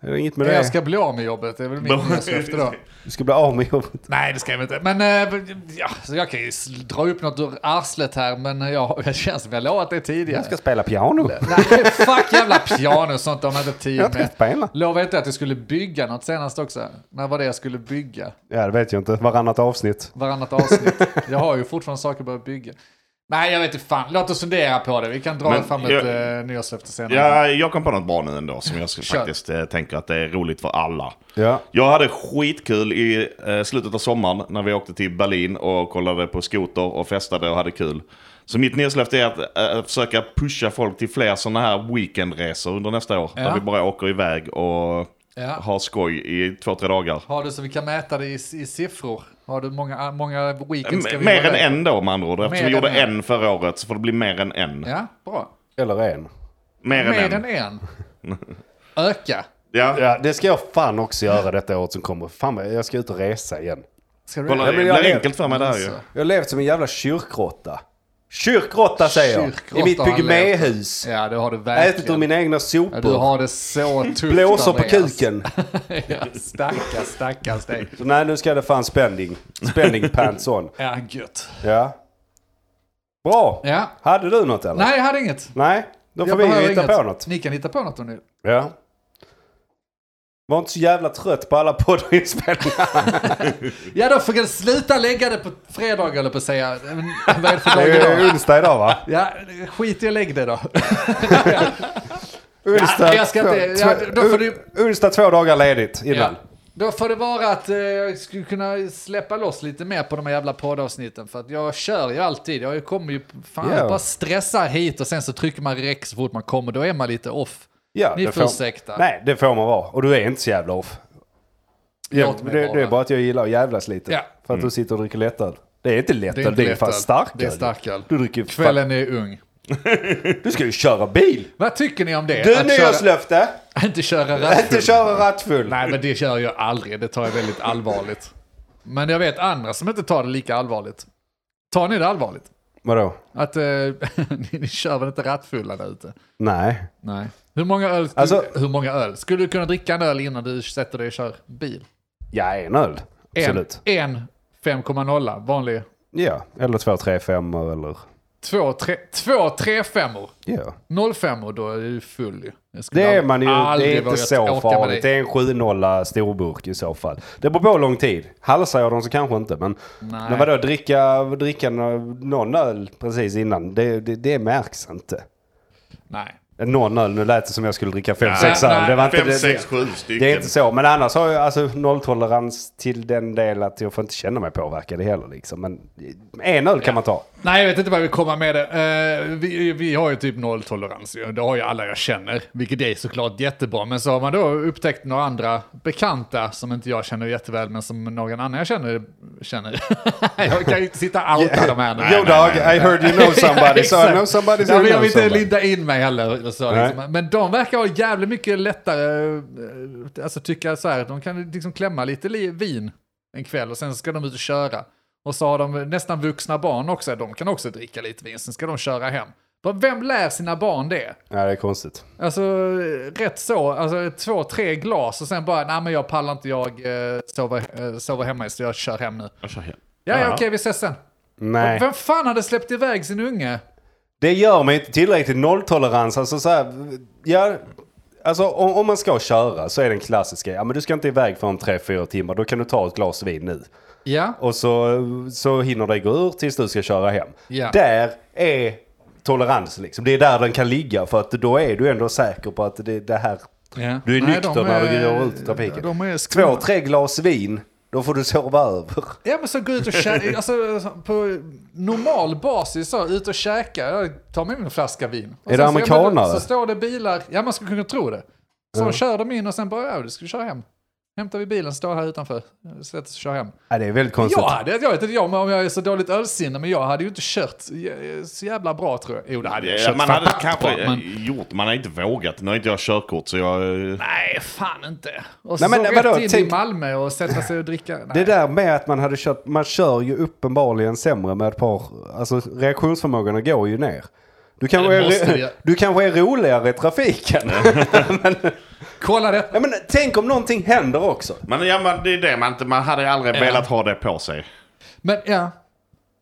Speaker 1: Är det inget med det?
Speaker 3: Jag ska bli av med jobbet, det är väl mitt nyårslöfte då.
Speaker 1: Du ska bli av med jobbet.
Speaker 3: Nej, det ska jag väl inte. Men eh, ja, så jag kan ju s- dra upp något ur arslet här, men [LAUGHS] jag, jag känns som jag lovat det tidigare.
Speaker 1: Jag ska spela piano.
Speaker 3: Nej, fuck jävla piano och sånt de hade tid
Speaker 1: Jag ska
Speaker 3: med.
Speaker 1: spela.
Speaker 3: Lovade inte att jag skulle bygga något senast också? När var det jag skulle bygga?
Speaker 1: Ja, det vet jag inte. Varannat avsnitt.
Speaker 3: Varannat avsnitt. Jag har ju fortfarande saker att börja bygga. Nej, jag vet inte fan. Låt oss fundera på det. Vi kan dra
Speaker 2: Men
Speaker 3: fram ett
Speaker 2: jag-
Speaker 3: jag, nyårslöfte senare.
Speaker 2: Ja, jag kom på något bra nu ändå som jag ska-
Speaker 3: Kör.
Speaker 2: faktiskt eh, tänker att det är roligt för alla.
Speaker 1: Ja.
Speaker 2: Jag hade skitkul i eh, slutet av sommaren när vi åkte till Berlin och kollade på skoter och festade och hade kul. Så mitt nyårslöfte är att eh, försöka pusha folk till fler sådana här weekendresor under nästa år.
Speaker 3: Ja.
Speaker 2: Där vi bara åker iväg och
Speaker 3: Ja.
Speaker 2: har skoj i två, tre dagar.
Speaker 3: Har du så vi kan mäta det i, i siffror? Har du många, många weekends? ska
Speaker 2: M-
Speaker 3: vi
Speaker 2: Mer
Speaker 3: vara
Speaker 2: än
Speaker 3: där?
Speaker 2: en då med andra ord. Eftersom vi
Speaker 3: Mer
Speaker 2: gjorde
Speaker 3: än en.
Speaker 2: en förra året så får det bli mer än en.
Speaker 3: Ja, bra.
Speaker 1: Eller en.
Speaker 2: Mer
Speaker 3: Mer
Speaker 2: än
Speaker 3: än
Speaker 2: en.
Speaker 3: en.
Speaker 2: [LAUGHS]
Speaker 3: Öka.
Speaker 2: Ja.
Speaker 1: Ja, det ska jag fan också göra detta året som kommer. Fan, vad- jag ska ut och resa igen.
Speaker 3: Ska du
Speaker 2: Kolla, det
Speaker 1: men jag
Speaker 2: blir
Speaker 1: vet.
Speaker 2: enkelt för mig det här ju.
Speaker 3: Alltså.
Speaker 1: Jag har levt som en jävla kyrkråtta. Kyrkråtta säger jag!
Speaker 3: Kyrkråtta
Speaker 1: I mitt
Speaker 3: har han
Speaker 1: pyjaméhus.
Speaker 3: Ja, det har du
Speaker 1: Ätit ur
Speaker 3: verkligen.
Speaker 1: mina egna
Speaker 3: Ja, Du
Speaker 1: sopor.
Speaker 3: har
Speaker 1: [LAUGHS]
Speaker 3: det så tufft
Speaker 1: Blåser på
Speaker 3: Andreas.
Speaker 1: kuken.
Speaker 3: [LAUGHS] ja, stackars, stackars dig.
Speaker 1: Så nej, nu ska det fan spänning. Spänning pants on.
Speaker 3: Ja, gött.
Speaker 1: Ja. Bra!
Speaker 3: Ja.
Speaker 1: Hade du något eller?
Speaker 3: Nej, jag hade inget.
Speaker 1: Nej, då får
Speaker 3: Jag
Speaker 1: vi
Speaker 3: behöver
Speaker 1: hitta
Speaker 3: inget.
Speaker 1: på något.
Speaker 3: Ni kan hitta på något om ni vill.
Speaker 1: Ja. Var inte så jävla trött på alla
Speaker 3: [LAUGHS]
Speaker 1: poddinspelningar.
Speaker 3: Ja, då får jag sluta lägga det på fredag eller på att säga. Men, [LAUGHS] Vad är det för
Speaker 1: Det
Speaker 3: dag
Speaker 1: är ju
Speaker 3: idag?
Speaker 1: onsdag idag va?
Speaker 3: Ja, skit i att lägga det då.
Speaker 1: Onsdag,
Speaker 3: Ja, jag ska inte-
Speaker 1: två-
Speaker 3: ja, då får du-
Speaker 1: on- Onsdag två dagar ledigt
Speaker 3: Ja.
Speaker 1: innan.
Speaker 3: Då får det vara att eh, jag skulle kunna släppa loss lite mer på de här jävla poddavsnitten. För att jag kör ju alltid. Jag kommer ju, fan,
Speaker 1: Ja.
Speaker 3: jag bara stressar hit och sen så trycker man räck så fort man kommer. Då är man lite off.
Speaker 1: Ja,
Speaker 3: Ni
Speaker 1: det
Speaker 3: får ursäkta.
Speaker 1: Nej, det får man vara. Och du är inte så jävla off. Ja,
Speaker 3: Låt
Speaker 1: det,
Speaker 3: mig
Speaker 1: det är
Speaker 3: vara.
Speaker 1: bara att jag gillar att jävlas lite.
Speaker 3: Ja.
Speaker 1: För att du sitter och dricker lättöl. Det är inte lättöl, det
Speaker 3: inte
Speaker 1: är, fan
Speaker 3: lättöl.
Speaker 1: starköl.
Speaker 3: Det är starköl.
Speaker 1: Du dricker ju fan...
Speaker 3: Kvällen är ung.
Speaker 1: Du ska ju köra bil!
Speaker 3: Vad tycker ni om det?
Speaker 1: Du,
Speaker 3: Att köra,
Speaker 1: nyårslöfte!
Speaker 3: [LAUGHS] inte köra rattfull.
Speaker 1: Inte köra rattfull!
Speaker 3: Nej, men det kör jag aldrig. Det tar jag väldigt allvarligt. Men jag vet andra som inte tar det lika allvarligt. Tar ni det allvarligt?
Speaker 1: Vadå?
Speaker 3: Att eh, [LAUGHS] ni, ni kör väl inte rattfulla där ute?
Speaker 1: Nej.
Speaker 3: Nej. Hur många, öl skulle,
Speaker 1: Alltså-
Speaker 3: hur många öl? Skulle du kunna dricka en öl innan du sätter dig och kör bil?
Speaker 1: Ja, en öl. Absolut.
Speaker 3: En, en 5,0 vanlig.
Speaker 1: Ja, eller två, tre, femmor eller...
Speaker 3: Två, tre, två, tre femmor.
Speaker 1: Ja.
Speaker 3: 05 då är du full ju. Jag skulle
Speaker 1: Det är
Speaker 3: aldrig-
Speaker 1: man ju, det
Speaker 3: aldrig
Speaker 1: är inte
Speaker 3: vågat åka
Speaker 1: så
Speaker 3: med dig.
Speaker 1: farligt. Det är en 7-0 storburk i så fall. Det beror på hur lång tid. Halsar jag dem så kanske inte, men...
Speaker 3: Nej.
Speaker 1: Men vadå, dricka, dricka nå- någon öl precis innan, det, det, det märks inte.
Speaker 3: Nej.
Speaker 1: Någon öl, nu lät det som jag skulle dricka fem
Speaker 2: Nej,
Speaker 1: sex
Speaker 3: nej,
Speaker 1: öl. Det var inte
Speaker 2: Fem,
Speaker 1: det.
Speaker 2: sex,
Speaker 1: det.
Speaker 2: sju stycken.
Speaker 1: Det är inte så, men annars har jag alltså nolltolerans till den del att jag får inte känna mig påverkad heller liksom. Men en öl kan man ta.
Speaker 3: Nej, jag vet inte vad jag vill komma med det. Eh, vi, vi har ju typ nolltolerans. ju. Det har ju alla jag känner, vilket är såklart jättebra. Men så har man då upptäckt några andra bekanta som inte jag känner jätteväl, men som någon annan jag känner känner. [LAUGHS] jag kan ju inte sitta och outa de här nu.
Speaker 1: Yo dog, I heard you know somebody, so I
Speaker 3: Exakt.
Speaker 1: know somebody, so
Speaker 3: ja,
Speaker 1: I
Speaker 3: men jag
Speaker 1: know
Speaker 3: vill inte
Speaker 1: somebody.
Speaker 3: linda in mig heller. Eller så,
Speaker 1: Nej.
Speaker 3: liksom. Men de verkar ha jävligt mycket lättare, eh, alltså tycka så här, de kan liksom klämma lite li- vin en kväll och sen ska de ut och köra. Och så har de nästan vuxna barn också, de kan också dricka lite vin, sen ska de köra hem. Vad- Vem lär sina barn det?
Speaker 1: Ja, det är konstigt.
Speaker 3: Alltså rätt så, alltså två, tre glas och sen bara, nej men jag pallar inte, jag eh, sover, eh, sover hemma så jag kör hem nu.
Speaker 2: Jag kör hem.
Speaker 3: Ja, ja
Speaker 2: Ja.
Speaker 3: okej vi ses sen.
Speaker 1: Nej.
Speaker 3: Vem fan hade släppt iväg sin unge?
Speaker 1: Det gör mig inte tillräckligt nolltolerans. Alltså så här, ja, alltså om, om man ska köra så är den klassiska, ja men du ska inte iväg för om 3-4 timmar, då kan du ta ett glas vin nu.
Speaker 3: Ja.
Speaker 1: Och så, så hinner det gå ur tills du ska köra hem.
Speaker 3: Ja.
Speaker 1: Där är tolerans liksom, det är där den kan ligga för att då är du ändå säker på att det, det här,
Speaker 3: Ja.
Speaker 1: du är
Speaker 3: Nej,
Speaker 1: nykter
Speaker 3: de
Speaker 1: när du
Speaker 3: är-
Speaker 1: går ut i trafiken.
Speaker 3: De är
Speaker 1: Två,
Speaker 3: skumma.
Speaker 1: tre glas vin, då får du sova över.
Speaker 3: Ja men så gå ut
Speaker 1: [LAUGHS]
Speaker 3: och käka, alltså på normal basis så, ut och käka, jag tar med mig en flaska vin. Och
Speaker 1: Är
Speaker 3: sen
Speaker 1: det
Speaker 3: så- ja, men
Speaker 1: amerikanare?
Speaker 3: Så, står det bilar, ja man skulle kunna tro det. Så kör de in och sen bara, ja du ska köra hem. hämtar vi bilen, står här utanför, sätter oss och kör hem.
Speaker 1: Ja, det är väldigt konstigt.
Speaker 3: Jag hade, jag vet inte jag, men om jag är så dåligt ölsinne, men jag hade ju inte kört eh, så jävla bra tror jag. Jo, det hade jag
Speaker 2: Eh,
Speaker 3: kört
Speaker 2: Man hade
Speaker 3: fantastiskt
Speaker 2: kanske
Speaker 3: bra,
Speaker 2: eh, gjort, man har inte vågat. Nu har inte jag körkort så jag... eh,
Speaker 3: Nej, fan inte. Och
Speaker 1: Nej,
Speaker 3: så
Speaker 1: men
Speaker 3: rätt
Speaker 1: vadå,
Speaker 3: in i
Speaker 1: tänk-
Speaker 3: Malmö och sätta sig och dricka. Nej.
Speaker 1: Det där med att man hade kört, man kör ju uppenbarligen sämre med ett par, alltså reaktionsförmågorna går ju ner. Du kanske,
Speaker 3: Det måste
Speaker 1: är,
Speaker 3: vi-
Speaker 1: du kanske är roligare i [LAUGHS] trafiken.
Speaker 3: Kolla det.
Speaker 1: ja, men, tänk om någonting händer också.
Speaker 2: Men ja, man, det är det man inte... Man hade aldrig velat ha det på sig.
Speaker 3: Men ja.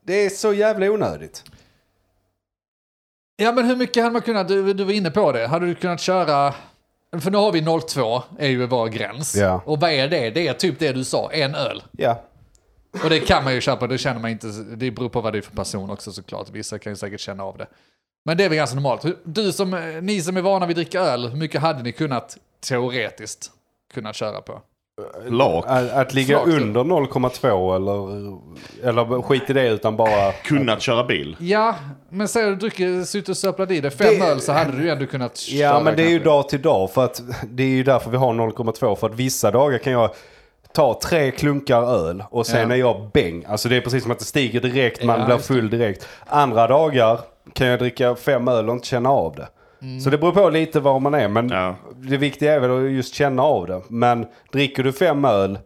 Speaker 1: Det är så jävla onödigt.
Speaker 3: ja, men hur mycket hade man kunnat, du, du var inne på det, hade du kunnat köra, för nu har vi 02, är ju vår gräns.
Speaker 1: Ja.
Speaker 3: Och vad är det? Det är typ det du sa, en öl.
Speaker 1: Ja.
Speaker 3: Och det kan man ju köpa, det känner man inte, det beror på vad det är för person också såklart. Vissa kan ju säkert känna av det. Men det är väl ganska normalt. Hur- Du som, eh, ni som är vana vid att dricka öl, hur mycket hade ni kunnat teoretiskt kunnat köra på?
Speaker 2: Lak.
Speaker 1: Att, att ligga
Speaker 3: Flak,
Speaker 1: under 0,2 eller, eller skit i det utan bara...
Speaker 2: Kunnat köra bil.
Speaker 3: Ja, men säg att du dricker, suttit och söplat i dig fem
Speaker 1: Det-
Speaker 3: öl så hade du ju ändå kunnat köra.
Speaker 1: Ja, men det är ju
Speaker 3: kanske.
Speaker 1: dag till dag. För att, det är ju därför vi har 0,2. För att vissa dagar kan jag ta tre klunkar öl och sen
Speaker 3: Ja.
Speaker 1: är jag bäng. Alltså det är precis som att det stiger direkt, man
Speaker 3: Ja,
Speaker 1: blir
Speaker 3: just
Speaker 1: full direkt. Andra dagar kan jag dricka fem öl och inte känna av det. Så det beror på lite var man är. Men
Speaker 2: Ja.
Speaker 1: det viktiga är väl att just känna av det. Men dricker du fem öl,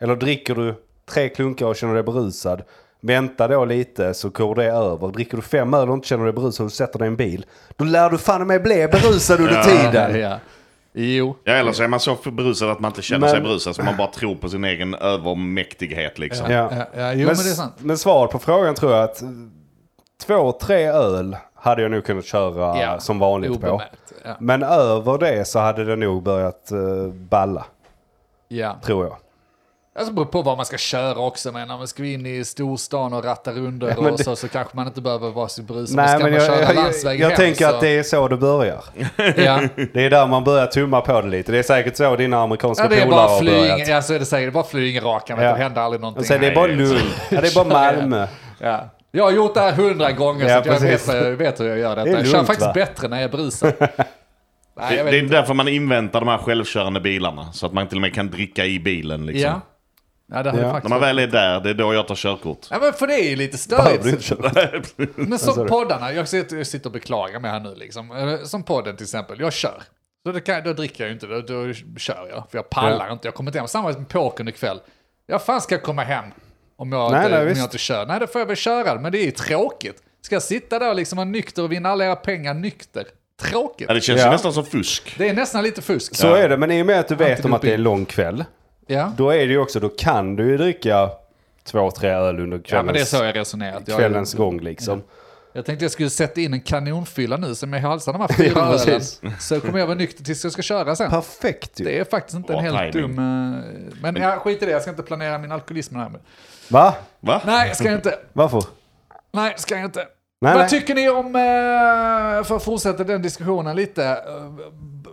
Speaker 1: eller dricker du tre klunkar och känner dig berusad, vänta då lite så går det över. Dricker du fem öl och inte känner dig berusad och du sätter dig i en bil, då lär du fan mig bli berusad under tiden.
Speaker 3: [LAUGHS] Ja. Jo.
Speaker 2: Ja, eller så är man så berusad att man inte känner
Speaker 1: Men-
Speaker 2: sig berusad så man bara tror på sin egen övermäktighet liksom.
Speaker 1: Ja.
Speaker 3: Ja, ja, jo, men det är sant.
Speaker 1: men svar på frågan tror jag att eh, två, tre öl hade jag nog kunnat köra
Speaker 3: Ja,
Speaker 1: som vanligt på.
Speaker 3: obemärkt. Ja.
Speaker 1: Men över det så hade det nog börjat eh, balla,
Speaker 3: ja.
Speaker 1: tror jag.
Speaker 3: Alltså det beror på vad man ska köra också. Men om man ska in i storstan och ratta rundor
Speaker 1: men
Speaker 3: och
Speaker 1: det-
Speaker 3: så, så kanske man inte behöver vara så brusad.
Speaker 1: Nej,
Speaker 3: ska
Speaker 1: men
Speaker 3: man
Speaker 1: jag,
Speaker 3: köra
Speaker 1: jag, jag,
Speaker 3: landsväg hem,
Speaker 1: tänker
Speaker 3: så...
Speaker 1: att det är så det börjar. [LAUGHS]
Speaker 3: Ja.
Speaker 1: Det är där man börjar tumma på det lite. Det är säkert så dina amerikanska
Speaker 3: Ja, det är
Speaker 1: polare
Speaker 3: bara
Speaker 1: har börjat.
Speaker 3: flyg, ja, så är det säkert. Det är bara flyg rakan,
Speaker 1: Ja.
Speaker 3: det händer aldrig någonting.
Speaker 1: Och sen det är
Speaker 3: Nej.
Speaker 1: bara Lund, ja, det är bara Malmö.
Speaker 3: ja. Jag har gjort det här hundra gånger
Speaker 1: Ja,
Speaker 3: så att jag vet,
Speaker 1: precis.
Speaker 3: jag vet hur jag gör detta.
Speaker 1: Det är
Speaker 3: jag kör
Speaker 1: lugnt,
Speaker 3: faktiskt
Speaker 1: va?
Speaker 3: bättre när jag är
Speaker 1: [LAUGHS]
Speaker 3: brusad. Nej,
Speaker 2: Det,
Speaker 3: jag
Speaker 2: det
Speaker 3: vet
Speaker 2: är
Speaker 3: inte.
Speaker 2: därför man inväntar de här självkörande bilarna. Så att man till och med kan dricka i bilen liksom.
Speaker 3: Ja. ja, det har
Speaker 1: Ja.
Speaker 3: jag
Speaker 2: När
Speaker 3: faktiskt
Speaker 2: man väl är där, det är då jag tar körkort.
Speaker 3: Ja, men för det är ju lite
Speaker 1: [LAUGHS] Behöver du inte
Speaker 3: störigt.
Speaker 1: köra.
Speaker 3: Men som poddarna, jag sitter jag sitter och beklagar mig här nu liksom. Eh, Som podden till exempel, jag kör. Så det kan, då dricker jag ju inte, då, då kör jag. För jag pallar inte, jag kommer inte hem. Samma som pokern ikväll. Jag fan ska jag komma hem om jag,
Speaker 1: Nej,
Speaker 3: inte,
Speaker 1: nej,
Speaker 3: om jag
Speaker 1: visst.
Speaker 3: inte kör. Nej, då får jag väl köra, men det är ju tråkigt. Ska jag sitta där och liksom vara nykter och vinna alla era pengar nykter?
Speaker 2: [LAUGHS]
Speaker 3: Tråkigt.
Speaker 2: Ja, det känns ju
Speaker 1: Ja.
Speaker 2: nästan som fusk.
Speaker 3: Det är nästan lite fusk.
Speaker 1: Så är det, men i och med att du vet om att det är
Speaker 3: Antidoping.
Speaker 1: en lång kväll,
Speaker 3: Ja.
Speaker 1: då är det ju också, då kan du ju dricka två, tre öl under
Speaker 3: ja, men det är
Speaker 1: kvällens,
Speaker 3: så jag resonerat. Jag,
Speaker 1: kvällens gång liksom.
Speaker 3: Jag tänkte jag skulle sätta in en kanonfylla nu som jag halsar de här fyra
Speaker 1: [LAUGHS] Ja,
Speaker 3: ölen.
Speaker 1: precis.
Speaker 3: Så kommer jag vara nykter tills jag ska köra sen.
Speaker 1: Perfekt ju.
Speaker 3: Det är faktiskt inte
Speaker 2: Bra
Speaker 3: en helt
Speaker 2: timing.
Speaker 3: dum... eh, Men jag skit i det, jag ska inte planera min alkoholism här.
Speaker 1: Va?
Speaker 2: Va?
Speaker 3: Nej, ska jag inte.
Speaker 1: Varför?
Speaker 3: Nej, ska jag inte.
Speaker 1: Nej,
Speaker 3: Vad
Speaker 1: nej.
Speaker 3: tycker ni om, eh, för att fortsätta den diskussionen lite, eh, b-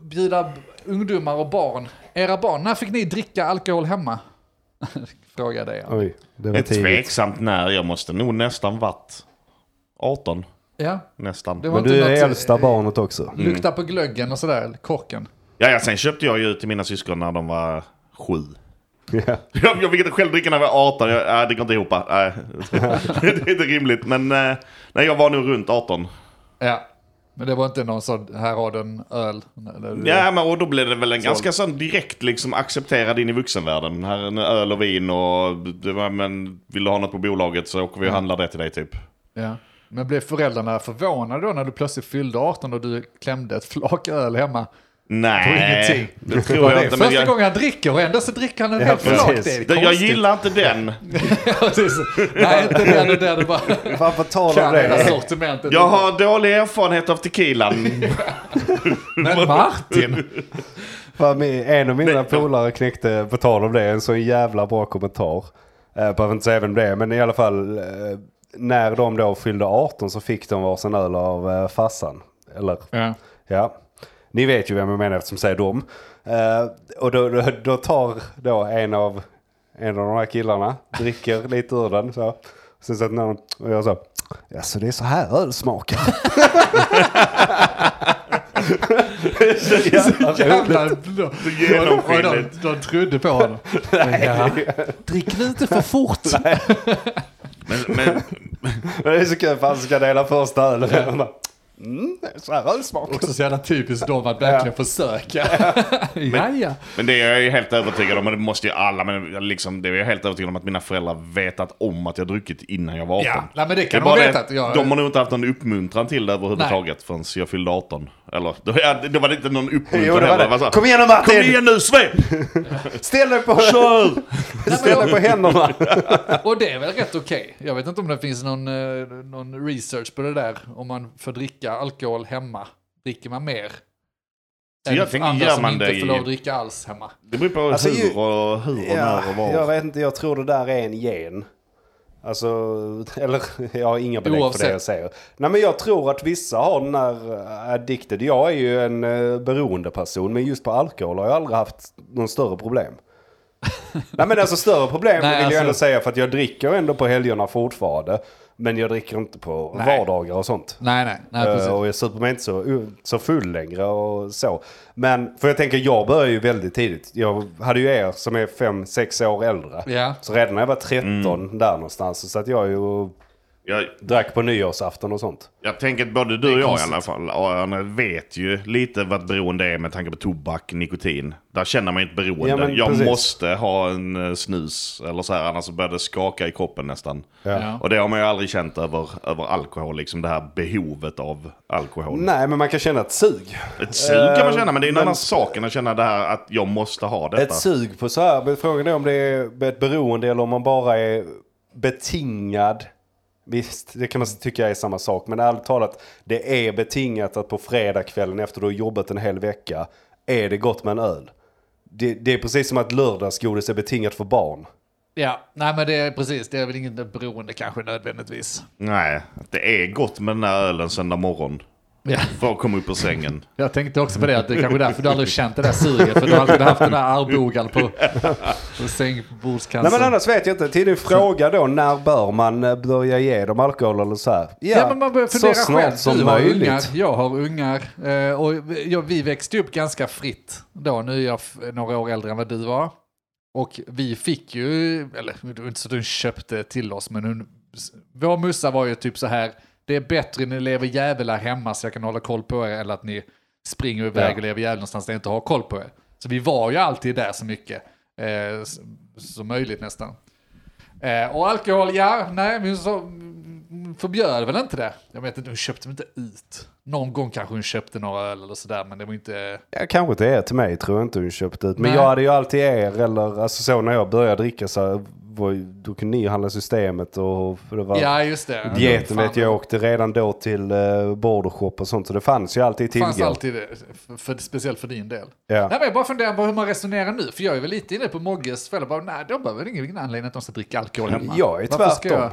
Speaker 3: bjuda b- ungdomar och barn, era barn, när fick ni dricka alkohol hemma? [LAUGHS] Fråga dig. Ja.
Speaker 1: Oj, det
Speaker 2: Det
Speaker 1: var
Speaker 2: är
Speaker 1: tidigt.
Speaker 2: tveksamt när. Jag måste nog nästan varit 18.
Speaker 3: ja,
Speaker 2: Nästan.
Speaker 3: det var
Speaker 1: Men
Speaker 3: inte
Speaker 1: du är
Speaker 3: något, Mm.
Speaker 1: äldsta barnet också.
Speaker 3: Lukta på glöggen och sådär, korken.
Speaker 2: Ja, ja, sen köpte jag ju ut till mina syskon när de var sju.
Speaker 1: [LAUGHS] Ja.
Speaker 2: Jag, jag fick inte själv dricka när jag var 18. Jag, nej, det går inte ihop. här. Nej. [LAUGHS] det är inte rimligt. Men eh, nej, jag var nog runt 18.
Speaker 3: Ja, men det var inte någon sån, här har du en öl. Eller-
Speaker 2: Ja, men och då blev det väl en ganska sån direkt liksom accepterad in i vuxenvärlden. Här är en öl och vin och det var, men vill du ha något på bolaget så åker vi och handlar det till dig typ.
Speaker 3: Ja. Men blev föräldrarna förvånade då när du plötsligt fyllde 18 och du klämde ett flak öl hemma?
Speaker 2: Nej,
Speaker 3: ingenting.
Speaker 2: det tror jag inte.
Speaker 3: Första
Speaker 2: Men jag,
Speaker 3: gången han dricker och ändå så dricker han en
Speaker 1: Ja,
Speaker 3: helt flak.
Speaker 1: precis.
Speaker 3: Det
Speaker 2: det-
Speaker 3: är
Speaker 2: jag
Speaker 3: [LAUGHS] konstigt.
Speaker 2: gillar inte [LAUGHS] den.
Speaker 3: Precis. Nej, inte den och den.
Speaker 2: [LAUGHS]
Speaker 3: Det bara
Speaker 1: Fan, på tal om
Speaker 3: kan hela
Speaker 1: det.
Speaker 3: sortimentet.
Speaker 2: Jag har dålig erfarenhet av tequilan.
Speaker 3: Men Martin,
Speaker 1: Fan, min- En av mina polare knäckte, på tal om det, en så jävla bra kommentar. Eh, Behöver inte säga vem det är, men i alla fall. eh, När de då fyllde 18 så fick de varsin öl av eh, farsan. Eller,
Speaker 3: ja.
Speaker 1: ja. Ni vet ju vem jag menar eftersom jag säger dem. Eh, Och då, då, då tar då en av, en av de här killarna, dricker lite ur den så. Sen satt någon och jag så. Ja, så det är så här öl smakar.
Speaker 3: Jävla blå.
Speaker 2: genomskinligt.
Speaker 3: Oj, de, de trodde på honom. Ja. Drick lite för fort.
Speaker 2: [LAUGHS] Men, men
Speaker 1: Men det är så kul för han ska dela första ölen. Och bara, Mm, så här ölsmak.
Speaker 3: Också så jävla typiskt dem att verkligen försöka. [LAUGHS] ja, ja.
Speaker 2: Men det är jag ju helt övertygad om, och det måste ju alla, men jag liksom, det är jag helt övertygad om att mina föräldrar vetat om att jag druckit innan jag var 18.
Speaker 3: Ja, nej, men det kan
Speaker 2: är
Speaker 3: de ha
Speaker 2: bara
Speaker 3: vetat. Jag-
Speaker 2: De har nog inte haft någon uppmuntran till det överhuvudtaget förrän jag fyllde 18. Eller, [LAUGHS] då, ja, det var inte någon uppmuntran
Speaker 1: Jo, det var
Speaker 2: heller.
Speaker 1: det.
Speaker 2: så här,
Speaker 1: Kom igen nu Martin!
Speaker 2: Kom igen nu Sve!
Speaker 1: Ställ dig på,
Speaker 2: Kör!
Speaker 1: ställ dig på händerna.
Speaker 3: Och det är väl rätt okej. Jag vet inte om det finns någon, eh, någon research på det där. Om man får dricka alkohol hemma, dricker man mer?
Speaker 2: Så jag tänker,
Speaker 3: andra
Speaker 2: gör
Speaker 3: som
Speaker 2: man
Speaker 3: inte
Speaker 2: det
Speaker 3: får
Speaker 2: i-
Speaker 3: lov att dricka alls hemma.
Speaker 2: Det beror på
Speaker 1: Alltså, ju-
Speaker 2: hur och hur och
Speaker 1: Ja,
Speaker 2: när och
Speaker 1: jag
Speaker 2: var.
Speaker 1: vet inte, jag tror det där är en gen. Alltså, [LAUGHS] eller jag har inga belägg för
Speaker 3: Oavsett.
Speaker 1: det jag säger. Nej men jag tror att vissa har den där eh, addicted. Jag är ju en eh, beroendeperson, men just på alkohol har jag aldrig haft någon större
Speaker 3: [LAUGHS]
Speaker 1: problem. Nej men alltså större problem
Speaker 3: Nej,
Speaker 1: vill jag ändå
Speaker 3: alltså-
Speaker 1: säga för att jag dricker ändå på helgerna fortfarande. Men jag dricker inte på vardagar och sånt.
Speaker 3: Nej, nej, nej precis.
Speaker 1: Eh, Och jag super mig inte så, så full längre och så. Men för jag tänker, jag började ju väldigt tidigt. Jag hade ju er som är fem sex år äldre.
Speaker 3: Ja.
Speaker 1: Så redan när jag var 13 där någonstans så satt jag ju och
Speaker 2: Jag,
Speaker 1: drack på nyårsafton och sånt.
Speaker 2: jag tänker att både du och jag i
Speaker 3: konstigt.
Speaker 2: alla fall, Aron, vet ju lite vad beroende är med tanke på tobak, nikotin. Där känner man ju ett beroende.
Speaker 1: Ja, men
Speaker 2: jag
Speaker 1: precis.
Speaker 2: måste ha en eh, snus eller så här, annars så börjar det skaka i kroppen nästan.
Speaker 3: Ja.
Speaker 2: Och det har man ju aldrig känt över, över alkohol, liksom det här behovet av alkohol.
Speaker 1: Nej, men man kan känna ett sug.
Speaker 2: Ett sug kan man känna, men det är en
Speaker 1: Men-
Speaker 2: annan sak än att känna det här att jag måste ha detta.
Speaker 1: Ett sug på så här. Men frågan är om det är ett beroende eller om man bara är betingad. Visst, det kan man tycka är samma sak. Men ärligt talat, det är betingat att på fredagskvällen efter du har jobbat en hel vecka är det gott med en öl. Det, det är precis som att lördagsgodis är betingat för barn.
Speaker 3: Alltså- Ja, nej men det är precis. Det är väl inget beroende kanske nödvändigtvis.
Speaker 2: Nej, det är gott med den här ölen söndag morgon.
Speaker 3: Ja.
Speaker 2: För att komma upp ur sängen.
Speaker 3: Jag tänkte också på det, att det är kanske är därför du aldrig känt det där suget. För du har alltid haft den där arbogan på, på
Speaker 1: Nej
Speaker 3: sängbordskanten.
Speaker 1: men annars vet jag inte, till din fråga då, när bör man eh, börja ge dem alkohol eller så här?
Speaker 3: Ja, men man börjar fundera
Speaker 1: så snart
Speaker 3: själv.
Speaker 1: som
Speaker 3: du
Speaker 1: möjligt.
Speaker 3: har ungar, jag har ungar. eh, Och jag, vi växte upp ganska fritt då. Nu är jag f- några år äldre än vad du var. Och vi fick ju, eller det var inte så att hon köpte till oss, men hon, vår mussa var ju typ så här, det är bättre ni lever jävlar hemma så jag kan hålla koll på er, eller att ni springer iväg
Speaker 1: Ja.
Speaker 3: och lever jävlar någonstans där jag inte har koll på er. Så vi var ju alltid där så mycket eh, s- som möjligt nästan. Eh, och alkohol, ja, nej, men så mm, förbjöd väl inte det. Jag vet inte, hon köpte väl inte ut. Någon gång kanske hon köpte några öl eller sådär, men det var inte...
Speaker 1: Ja, kanske till er, till mig tror jag inte hon köpte ut. Men
Speaker 3: Nej.
Speaker 1: jag hade ju alltid er, eller alltså så när jag började dricka så var, ju- då kunde ni handla systemet och för det var...
Speaker 3: Ja, just det.
Speaker 1: Dieten
Speaker 3: Fan,
Speaker 1: vet jag åkte redan då till uh, bordershop och sånt så det fanns ju alltid
Speaker 3: Det fanns
Speaker 1: tillgång.
Speaker 3: alltid det, för, för, speciellt för din del.
Speaker 1: Ja.
Speaker 3: Nej, men jag bara funderar på hur man resonerar nu, för jag är väl lite inne på Mogges fälla. Bara, Nej, de behöver väl ingen anledning att de ska dricka alkohol hemma.
Speaker 1: Jag är
Speaker 3: Varför ska
Speaker 1: tvärtom.
Speaker 3: jag-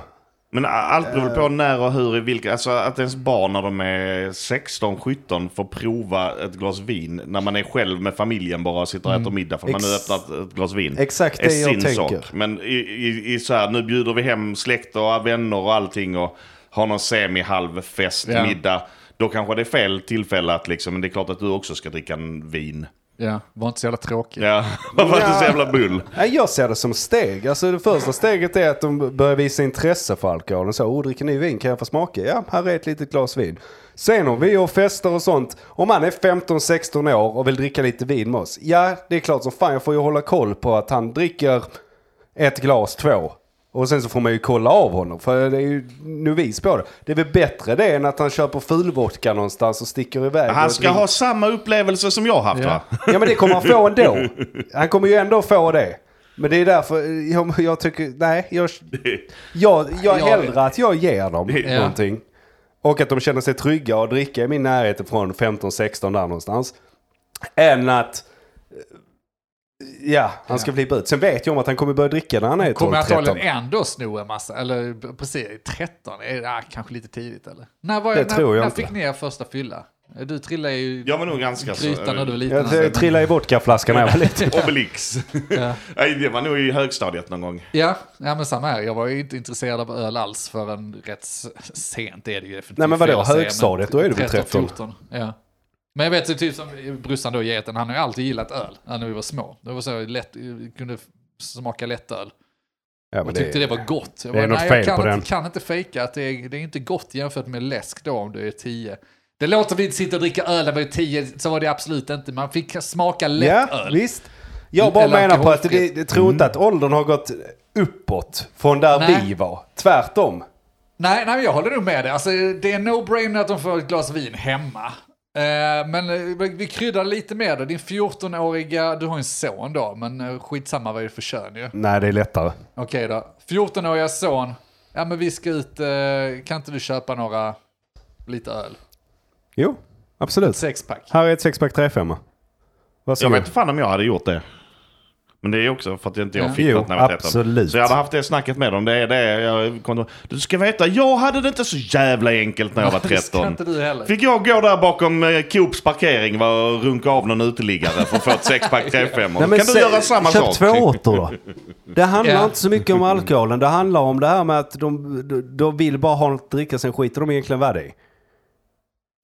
Speaker 2: Men a- allt beror på när och hur i vilka... Alltså att ens barn när de är 16-17 får prova ett glas vin när man är själv med familjen bara och sitter och äter middag för man har
Speaker 1: Ex-
Speaker 2: öppnat ett glas vin.
Speaker 1: Exakt det jag tänker.
Speaker 2: Men i, i, i så här, nu bjuder vi hem släkt och vänner och allting och har någon semi-halvfest,
Speaker 3: Ja.
Speaker 2: middag. Då kanske det är fel tillfälle att liksom, men det är klart att du också ska dricka en vin.
Speaker 3: Ja, var inte så jävla tråkig.
Speaker 2: Ja, [LAUGHS] varför är du så
Speaker 1: Ja.
Speaker 2: jävla bull?
Speaker 1: Nej, jag ser det som steg. Alltså det första steget är att de börjar visa intresse för alkoholen. Så, oh, dricker ni vin? Kan jag få smaka? Ja, här är ett litet glas vin. Sen om vi har fester och sånt. Om man är 15-16 år och vill dricka lite vin med oss. Ja, det är klart som fan. Jag får ju hålla koll på att han dricker ett glas, två. Och sen så får man ju kolla av honom. För det är ju novis på det. Det är väl bättre det än att han köper fulvodka någonstans och sticker iväg.
Speaker 2: Han
Speaker 1: och
Speaker 2: ska
Speaker 1: dricker.
Speaker 2: ha samma upplevelse som jag haft va?
Speaker 1: Ja men det kommer han få ändå. Han kommer ju ändå få det. Men det är därför jag, jag tycker, nej, jag, jag, jag
Speaker 3: Ja.
Speaker 1: hellre att jag ger dem
Speaker 3: Ja.
Speaker 1: någonting. Och att de känner sig trygga och dricka i min närhet från 15-16 där någonstans. Än att, eh, ja, han ska flippa ut. Sen vet jag om att han kommer börja dricka när han är
Speaker 3: Kommer jag antagligen
Speaker 1: 12-13.
Speaker 3: ändå sno en massa, eller b- precis, 13, är det, ah, kanske lite tidigt eller? När var
Speaker 1: Det
Speaker 3: när,
Speaker 1: tror jag
Speaker 3: när
Speaker 1: inte.
Speaker 3: fick ni er första fylla? Du trillade ju
Speaker 2: Jag var nog ganska så-
Speaker 3: grytan när du var liten.
Speaker 1: Jag
Speaker 3: alltså.
Speaker 1: jag trillade i vodkaflaskan när jag
Speaker 3: [LAUGHS]
Speaker 1: var liten.
Speaker 2: [LAUGHS] Obelix. Nej, det var nog i högstadiet någon gång.
Speaker 3: Ja, ja, men samma här. Jag var ju inte intresserad av öl alls förrän rätt s- sent är det ju. definitivt
Speaker 1: Nej, men vadå?
Speaker 3: fel att säga,
Speaker 1: Högstadiet, då är du väl 13?
Speaker 3: 14, ja. Men jag vet ju typ som brorsan då, geten, han har ju alltid gillat öl när vi var små. Det var så lätt, kunde smaka lättöl.
Speaker 1: Ja,
Speaker 3: Och
Speaker 1: men
Speaker 3: tyckte
Speaker 1: det,
Speaker 3: det var gott. Jag
Speaker 1: det är något
Speaker 3: nej,
Speaker 1: fel
Speaker 3: jag kan
Speaker 1: på
Speaker 3: inte,
Speaker 1: den."
Speaker 3: kan inte fejka att det är, det är inte gott jämfört med läsk då om du är 10. Det låter vi sitter och dricka öl när vi är 10, så var det absolut inte. Man fick smaka lätt
Speaker 1: ja,
Speaker 3: öl.
Speaker 1: visst. Jag bara
Speaker 3: Eller
Speaker 1: menar på att det,
Speaker 3: alkoholfritt.
Speaker 1: det tror inte att åldern har gått uppåt från där
Speaker 3: Nej.
Speaker 1: vi var. Tvärtom.
Speaker 3: Nej, nej, men jag håller nog med dig. Alltså, det är no-brainer att de får ett glas vin hemma. Eh, men eh, vi- vi kryddar lite mer då. Din 14-åriga, du har ju en son då, men eh, skitsamma vad det är för kön ju.
Speaker 1: Nej, det är lättare.
Speaker 3: Okej då, 14-åriga son. Ja men vi ska ut, eh, kan inte du köpa några, lite öl?
Speaker 1: Jo, absolut.
Speaker 3: Sexpack.
Speaker 1: Här är ett sexpack 35. Vad
Speaker 2: Jag
Speaker 1: sa
Speaker 2: vet
Speaker 1: du?
Speaker 2: inte fan om jag hade gjort det. Men det är också för att jag inte jag
Speaker 3: Ja.
Speaker 2: fick
Speaker 1: Jo,
Speaker 2: något när jag var 13.
Speaker 1: absolut.
Speaker 2: Så jag hade haft det snacket med dem. Det är det jag kom... Du ska veta, jag hade det inte så jävla enkelt när
Speaker 1: [LAUGHS]
Speaker 2: jag var
Speaker 3: Det ska
Speaker 2: 13.
Speaker 3: inte du heller.
Speaker 2: Fick jag gå där bakom eh, Coops parkering var och runka av någon uteliggare för att få
Speaker 1: [LAUGHS]
Speaker 2: ett sexpack 35 Kan du
Speaker 1: se-
Speaker 2: göra samma
Speaker 1: köp
Speaker 2: sak?
Speaker 1: två åter då. Det handlar
Speaker 3: Ja.
Speaker 1: inte så mycket om alkoholen. Det handlar om det här med att de, de, de vill bara ha något att dricka, sen skiter de egentligen vad det är.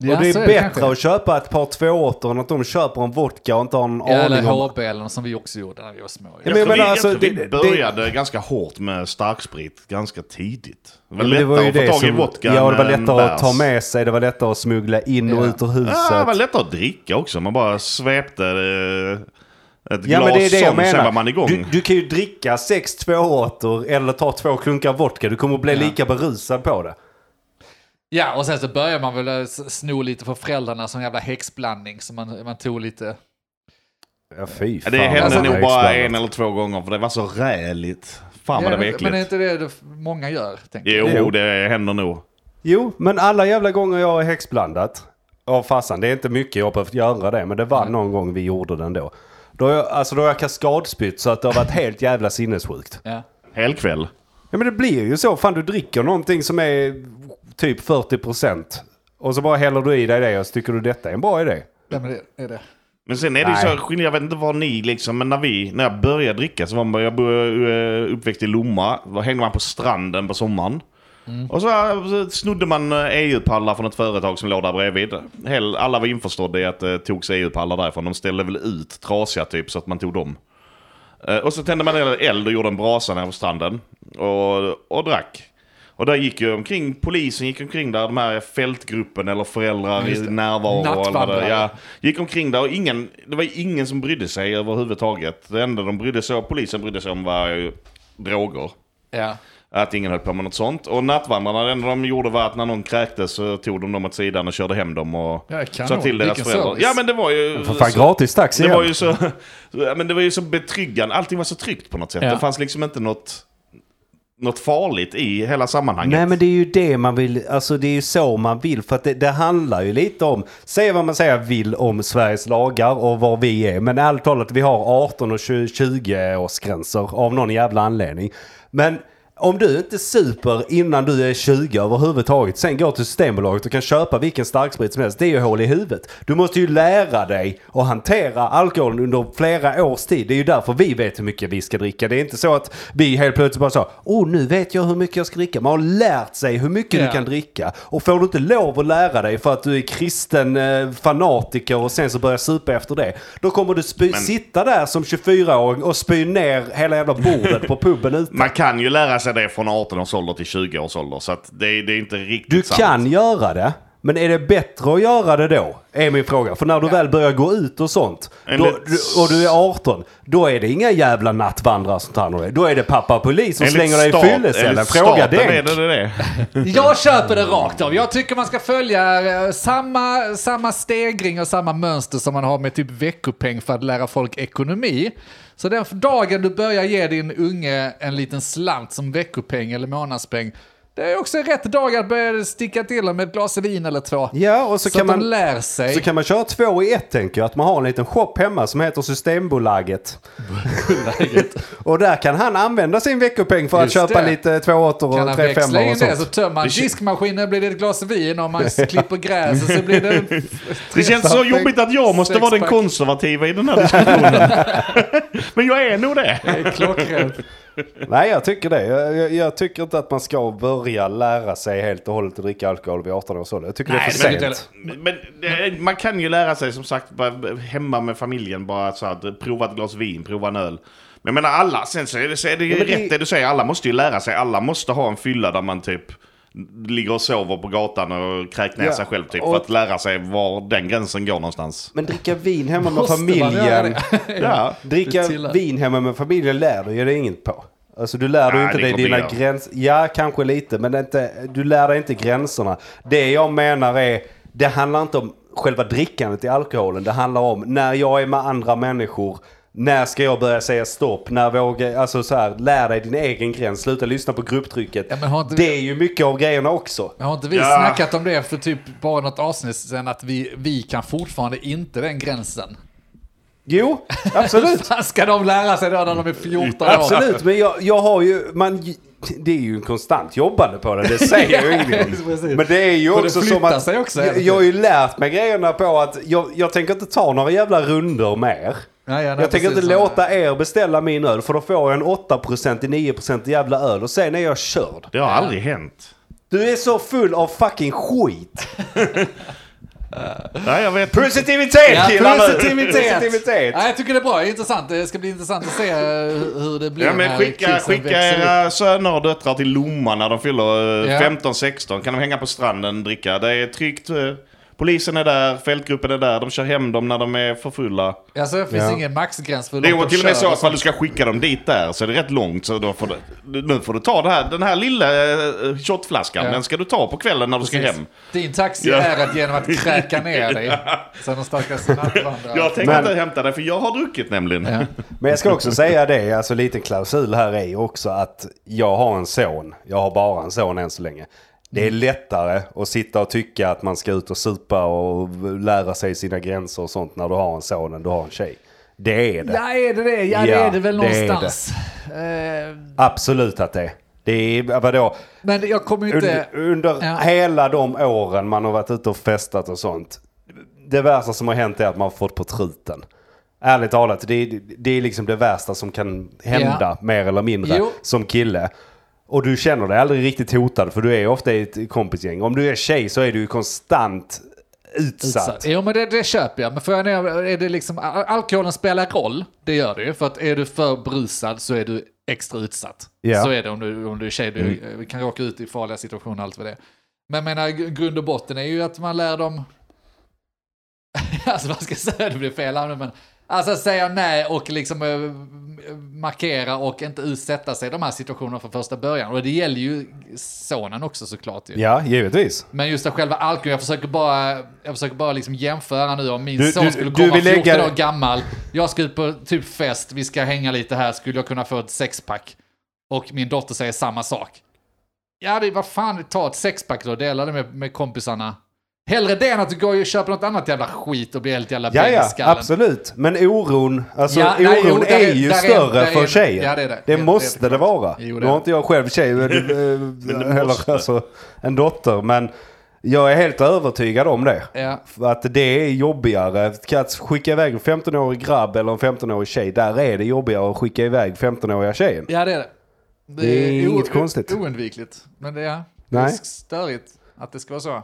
Speaker 3: Ja,
Speaker 1: och det är
Speaker 3: så
Speaker 1: bättre
Speaker 3: kanske.
Speaker 1: att köpa ett par tvååter än att de köper en vodka och inte har en
Speaker 3: Eller
Speaker 1: aning om...
Speaker 3: HB eller något som vi också gjorde när vi var små.
Speaker 1: Ja,
Speaker 2: Jag,
Speaker 1: men
Speaker 2: tror vi,
Speaker 1: alltså,
Speaker 2: jag tror vi
Speaker 1: det- det-
Speaker 2: började ganska hårt med starksprit ganska tidigt. Det var
Speaker 1: Men det
Speaker 2: lättare
Speaker 1: var ju
Speaker 2: att få
Speaker 1: det
Speaker 2: tag i
Speaker 1: som...
Speaker 2: vodka
Speaker 1: ja, det var
Speaker 2: än
Speaker 1: lättare att
Speaker 2: bärs.
Speaker 1: ta med sig, det var lättare att smuggla in och
Speaker 3: Ja.
Speaker 1: ut ur huset.
Speaker 2: Ja, det var lättare Ah, att dricka också. Man bara svepte eh, ett
Speaker 1: Ja,
Speaker 2: glas
Speaker 1: men det är det jag
Speaker 2: sån, sen var
Speaker 1: menar.
Speaker 2: man igång.
Speaker 1: Du, du kan ju dricka sex tvååter eller ta två klunkar vodka. Du kommer att bli
Speaker 3: Ja.
Speaker 1: lika berusad på det.
Speaker 3: Ja, och sen så börjar man väl eh, s- sno lite från föräldrarna som en jävla häxblandning. Så man, man tog lite...
Speaker 1: Ja, fy
Speaker 2: Ja,
Speaker 1: fan.
Speaker 2: det hände
Speaker 3: Alltså,
Speaker 2: nog
Speaker 3: det
Speaker 2: bara en eller två gånger för det var så räligt. Fan vad det var
Speaker 3: men, men är
Speaker 2: äckligt.
Speaker 3: inte det det f- många gör? Tänker jag.
Speaker 2: Jo,
Speaker 1: Jo.
Speaker 2: det händer nog.
Speaker 1: Jo, men alla jävla gånger jag har häxblandat av farsan, det är inte mycket jag har behövt göra det, men det var någon gång vi gjorde det ändå. Då har jag, alltså då har jag kaskadspytt så att det har varit helt jävla sinnessjukt.
Speaker 3: Ja.
Speaker 2: Helkväll.
Speaker 1: Ja men det blir ju så, fan du dricker någonting som är typ 40% och så bara häller du i dig det och så tycker du detta är en bra idé.
Speaker 3: Ja, men det är det.
Speaker 2: Men sen är det ju så
Speaker 1: Nej.
Speaker 2: skillnad, jag vet inte vad ni liksom, men när vi, när jag började dricka så var man, jag bo- uppväxt i Lomma, då hängde man på stranden på sommaren.
Speaker 3: Mm.
Speaker 2: Och så, eh, så snodde man eh, EU-pallar från ett företag som låg där bredvid. Hell, alla var införstådda i att det togs EU-pallar därifrån. De ställde väl ut trasiga typ så att man tog dem. Eh, Och så tände man eld och gjorde en brasa nere på stranden. Och, och drack. Och där gick ju omkring, polisen gick omkring där, de här fältgruppen eller föräldrar i
Speaker 3: Just det.
Speaker 2: närvaro. och alla där.
Speaker 3: Nattvandrare.
Speaker 2: Ja, gick omkring där och ingen, det var ingen som brydde sig överhuvudtaget. Det enda de brydde sig om, polisen brydde sig om var ju droger.
Speaker 3: Ja.
Speaker 2: Att ingen höll på med något sånt. Och nattvandrarna, det enda de gjorde var att när någon kräktes så tog de dem åt sidan och körde hem dem och
Speaker 3: Ja, kanon.
Speaker 2: sa till deras
Speaker 3: Vilken
Speaker 2: föräldrar.
Speaker 3: service.
Speaker 2: Ja men det var ju...
Speaker 1: För fan
Speaker 2: så-
Speaker 1: gratis taxi
Speaker 2: det
Speaker 1: igen.
Speaker 2: var ju så, [LAUGHS] ja, men det var ju så betryggande. Allting var så tryggt på något sätt.
Speaker 3: Ja.
Speaker 2: Det fanns liksom inte något, något farligt i hela sammanhanget.
Speaker 1: Nej men det är ju det man vill, alltså det är ju så man vill för att det, det handlar ju lite om, säg vad man säger vill om Sveriges lagar och var vi är men ärligt talat vi har 18 och 20 års gränser av någon jävla anledning. Men om du inte super innan du är 20 överhuvudtaget, sen går till Systembolaget och kan köpa vilken starksprit som helst, det är ju hål i huvudet. Du måste ju lära dig att hantera alkoholen under flera års tid. Det är ju därför vi vet hur mycket vi ska dricka. Det är inte så att vi helt plötsligt bara sa, oh nu vet jag hur mycket jag ska dricka. Man har lärt sig hur mycket
Speaker 3: Ja.
Speaker 1: du kan dricka. Och får du inte lov att lära dig för att du är kristen eh, fanatiker och sen så börjar supa efter det, då kommer du spy, sitta där som 24-åring och spy ner hela jävla bordet på puben ute.
Speaker 2: Man kan ju lära sig det från 18 års ålder till 20 års ålder. Så att det, är- det är inte riktigt
Speaker 1: Du
Speaker 2: sant.
Speaker 1: kan göra det, men är det bättre att göra det då? Är min fråga. För när du väl börjar gå ut och sånt, då,
Speaker 2: Enligt-
Speaker 1: du- och du är 18, då är det inga jävla nattvandrare som tar hand om dig. Då är det pappa polis som
Speaker 2: Enligt
Speaker 1: slänger dig i
Speaker 2: stat-
Speaker 1: fyllecellen.
Speaker 2: enligt
Speaker 1: Fråga
Speaker 2: staten är
Speaker 1: Denk.
Speaker 2: det, det, det.
Speaker 3: Jag köper det rakt av. Jag tycker man ska följa eh, samma, samma stegring och samma mönster som man har med typ veckopeng för att lära folk ekonomi. Så den dagen du börjar ge din unge en liten slant som veckopeng eller månadspeng, det är också rätt dag att börja sticka till dem med ett glas vin eller två.
Speaker 1: Ja, och så,
Speaker 3: så
Speaker 1: kan
Speaker 3: att
Speaker 1: man...
Speaker 3: de lär sig.
Speaker 1: Så kan man köra två i ett tänker jag. Att man har en liten shop hemma som heter Systembolaget. och där kan han använda sin veckopeng för att
Speaker 3: Just
Speaker 1: köpa
Speaker 3: det.
Speaker 1: lite tvååter
Speaker 3: [LAUGHS] Kan
Speaker 1: och
Speaker 3: han
Speaker 1: tre
Speaker 3: växla
Speaker 1: femmor
Speaker 3: in
Speaker 1: och
Speaker 3: det Alltså, så
Speaker 1: sånt.
Speaker 3: tömmer man
Speaker 2: Det kän-
Speaker 3: diskmaskinen blir det ett glas vin och
Speaker 1: [LAUGHS]
Speaker 3: man klipper gräset så blir det...
Speaker 2: Det känns så
Speaker 3: [LAUGHS]
Speaker 2: jobbigt att jag måste vara den [LAUGHS]
Speaker 3: Sexpack.
Speaker 2: konservativa i den här diskussionen. Men jag är nog det.
Speaker 3: Det är klockrent.
Speaker 1: Nej, jag tycker det. Jag, jag, jag tycker inte att man ska börja lära sig helt och hållet att dricka alkohol vid 18 års ålder. Jag tycker det är
Speaker 2: Nej,
Speaker 1: för
Speaker 2: men-
Speaker 1: sent.
Speaker 2: Men det, man kan ju lära sig som sagt bara hemma med familjen bara så att prova ett glas vin, prova en öl. Men jag menar alla, sen så är det, så är det ju
Speaker 1: men det-
Speaker 2: rätt det du säger, alla måste ju lära sig, alla måste ha en fylla där man typ ligger och sover på gatan och kräker ner
Speaker 1: Ja,
Speaker 2: sig själv typ
Speaker 1: och-
Speaker 2: för att lära sig var den gränsen går någonstans.
Speaker 1: Men dricka vin hemma med
Speaker 3: Måste man göra
Speaker 1: [LAUGHS] familjen.
Speaker 3: det?
Speaker 2: Ja.
Speaker 1: Dricka
Speaker 3: Det tillhör.
Speaker 1: vin hemma med familjen lär du ju dig inget på. Alltså du lär dig ju
Speaker 2: Nej,
Speaker 1: inte
Speaker 2: det
Speaker 1: dig
Speaker 2: kommer
Speaker 1: dina
Speaker 2: jag.
Speaker 1: gränser. Ja, kanske lite, men det är inte, du lär dig inte gränserna. Det jag menar är, det handlar inte om själva drickandet i alkoholen. Det handlar om när jag är med andra människor, när ska jag börja säga stopp? När vågar, alltså så här, lär dig din egen gräns, sluta lyssna på grupptrycket.
Speaker 3: Ja, men har inte-
Speaker 1: Det är ju mycket av grejerna också.
Speaker 3: Men har inte vi
Speaker 2: Ja.
Speaker 3: snackat om det för typ bara något avsnitt sen att vi, vi kan fortfarande inte den gränsen?
Speaker 1: Jo,
Speaker 3: Hur
Speaker 1: absolut.
Speaker 3: fan ska de lära sig då när de är 14 år?
Speaker 1: Absolut, men jag, jag har ju... Man, det är ju en konstant jobbande på det, det säger
Speaker 3: [LAUGHS]
Speaker 1: jag ingenting om.
Speaker 3: Precis.
Speaker 1: Men det är ju
Speaker 3: För det
Speaker 1: också som
Speaker 3: flyttar
Speaker 1: att...
Speaker 3: sig också hela
Speaker 1: jag, jag har ju lärt mig grejerna på att jag, jag tänker inte ta några jävla runder med er.
Speaker 3: Nej, ja, nej,
Speaker 1: jag tänker inte
Speaker 3: precis.
Speaker 1: låta er beställa min öl för då får jag en 8% till 9% jävla öl och sen är jag körd.
Speaker 2: Det har aldrig hänt.
Speaker 1: Du är så full av fucking skit.
Speaker 2: Nej, jag vet
Speaker 1: Positivitet
Speaker 3: Ja,
Speaker 1: killar nu!
Speaker 3: positivitet!
Speaker 1: Positivitet.
Speaker 3: Ja, jag tycker det är bra, det är intressant. Det ska bli intressant att se eh, hur hur det blir
Speaker 2: Ja, men
Speaker 3: när
Speaker 2: skicka,
Speaker 3: kidsen
Speaker 2: skicka
Speaker 3: växer upp.
Speaker 2: era söner och döttrar till Lomma när de fyller
Speaker 3: Ja.
Speaker 2: 15-16. Kan de hänga på stranden och dricka. Det är tryggt. eh, Polisen är där, fältgruppen är där. De kör hem dem när de är för fulla.
Speaker 3: Alltså, det finns
Speaker 1: Ja.
Speaker 3: ingen maxgräns för hur
Speaker 2: Det
Speaker 3: långt
Speaker 2: är
Speaker 3: de
Speaker 2: till och med
Speaker 3: kör liksom-
Speaker 2: så
Speaker 3: och
Speaker 2: att om du ska skicka dem dit där så är det rätt långt. Så då får du, nu får du ta det här, den här lilla eh, shotflaskan.
Speaker 3: Ja.
Speaker 2: Den ska du ta på kvällen när du ska
Speaker 3: Precis.
Speaker 2: hem.
Speaker 3: Din taxi
Speaker 2: Ja.
Speaker 3: är att genom att kräka
Speaker 2: [LAUGHS]
Speaker 3: ner dig. Sen de stackars nattvandrar.
Speaker 2: Jag tänker
Speaker 1: Men-
Speaker 2: inte hämta dig för jag har druckit nämligen. [LAUGHS]
Speaker 3: Ja.
Speaker 1: Men jag ska också säga det, alltså liten klausul här är ju också att jag har en son. Jag har bara en son än så länge. Det är lättare att sitta och tycka att man ska ut och supa och lära sig sina gränser och sånt när du har en son än du har en tjej. Det är det.
Speaker 3: Ja, är det det? Ja, det
Speaker 1: Ja,
Speaker 3: är det väl
Speaker 1: det är det.
Speaker 3: någonstans. Eh,
Speaker 1: Absolut att det är. Det är, vadå?
Speaker 3: Men jag kommer ju inte...
Speaker 1: Under, under
Speaker 3: Ja.
Speaker 1: hela de åren man har varit ute och festat och sånt. Det värsta som har hänt är att man har fått på truten. Ärligt talat, det är, det är liksom det värsta som kan hända
Speaker 3: Ja.
Speaker 1: mer eller mindre
Speaker 3: Jo.
Speaker 1: som kille. Och du känner dig aldrig riktigt hotad för du är ofta i ett kompisgäng. Om du är tjej så är du ju konstant utsatt.
Speaker 3: Utsatt. Jo men det, det köper jag. Men frågan är, är det liksom, al- alkoholen spelar roll, det gör det ju. För att är du för brusad så är du extra utsatt.
Speaker 1: Ja. Mm.
Speaker 3: Så är det om du, om du är tjej, du eh, kan råka ut i farliga situationer och allt vad det är. Men jag menar, gr- grund och botten är ju att man lär dem... [LAUGHS] alltså vad ska jag säga, det blir fel här nu men... Alltså säga nej och liksom eh, markera och inte utsätta sig i de här situationerna från första början. Och det gäller ju sonen också såklart ju.
Speaker 1: Ja, givetvis.
Speaker 3: Men just det själva alkohol, jag försöker bara, jag försöker bara liksom jämföra nu om min
Speaker 1: Du-
Speaker 3: son
Speaker 1: du-
Speaker 3: skulle
Speaker 1: du
Speaker 3: komma
Speaker 1: vill
Speaker 3: 14
Speaker 1: lägga-
Speaker 3: år gammal, jag ska ut på typ fest, vi ska hänga lite här, skulle jag kunna få ett sexpack? Och min dotter säger samma sak. Ja, det, vad fan, ta ett sexpack då, dela det med, med kompisarna. Hellre det än att du går och köper något annat jävla skit och blir helt jävla
Speaker 1: Ja,
Speaker 3: bäng i
Speaker 1: ja,
Speaker 3: skallen.
Speaker 1: absolut. Men oron, alltså,
Speaker 3: Ja, nej, jo,
Speaker 1: oron
Speaker 3: där
Speaker 1: är
Speaker 3: är-
Speaker 1: ju
Speaker 3: där är-
Speaker 1: större
Speaker 3: där är-
Speaker 1: för tjejen.
Speaker 3: ja, det är det. Det-
Speaker 1: det
Speaker 3: det är
Speaker 1: måste det,
Speaker 3: klart.
Speaker 1: vara.
Speaker 3: Jo, det
Speaker 1: nu
Speaker 3: är
Speaker 1: har
Speaker 3: det.
Speaker 1: inte jag själv tjej,
Speaker 3: [LAUGHS]
Speaker 1: men,
Speaker 2: det
Speaker 1: eller
Speaker 2: måste.
Speaker 1: alltså, en dotter. Men jag är helt övertygad om det.
Speaker 3: Ja.
Speaker 1: För Att det är jobbigare. Att skicka iväg en 15-årig grabb eller en 15-årig tjej, där är det jobbigare att skicka iväg 15-åriga tjejen.
Speaker 3: Ja, det är det. Det,
Speaker 1: är inget
Speaker 3: o-
Speaker 1: konstigt.
Speaker 3: Oundvikligt. Men det är, det är
Speaker 1: Nej.
Speaker 3: störigt att det ska vara så.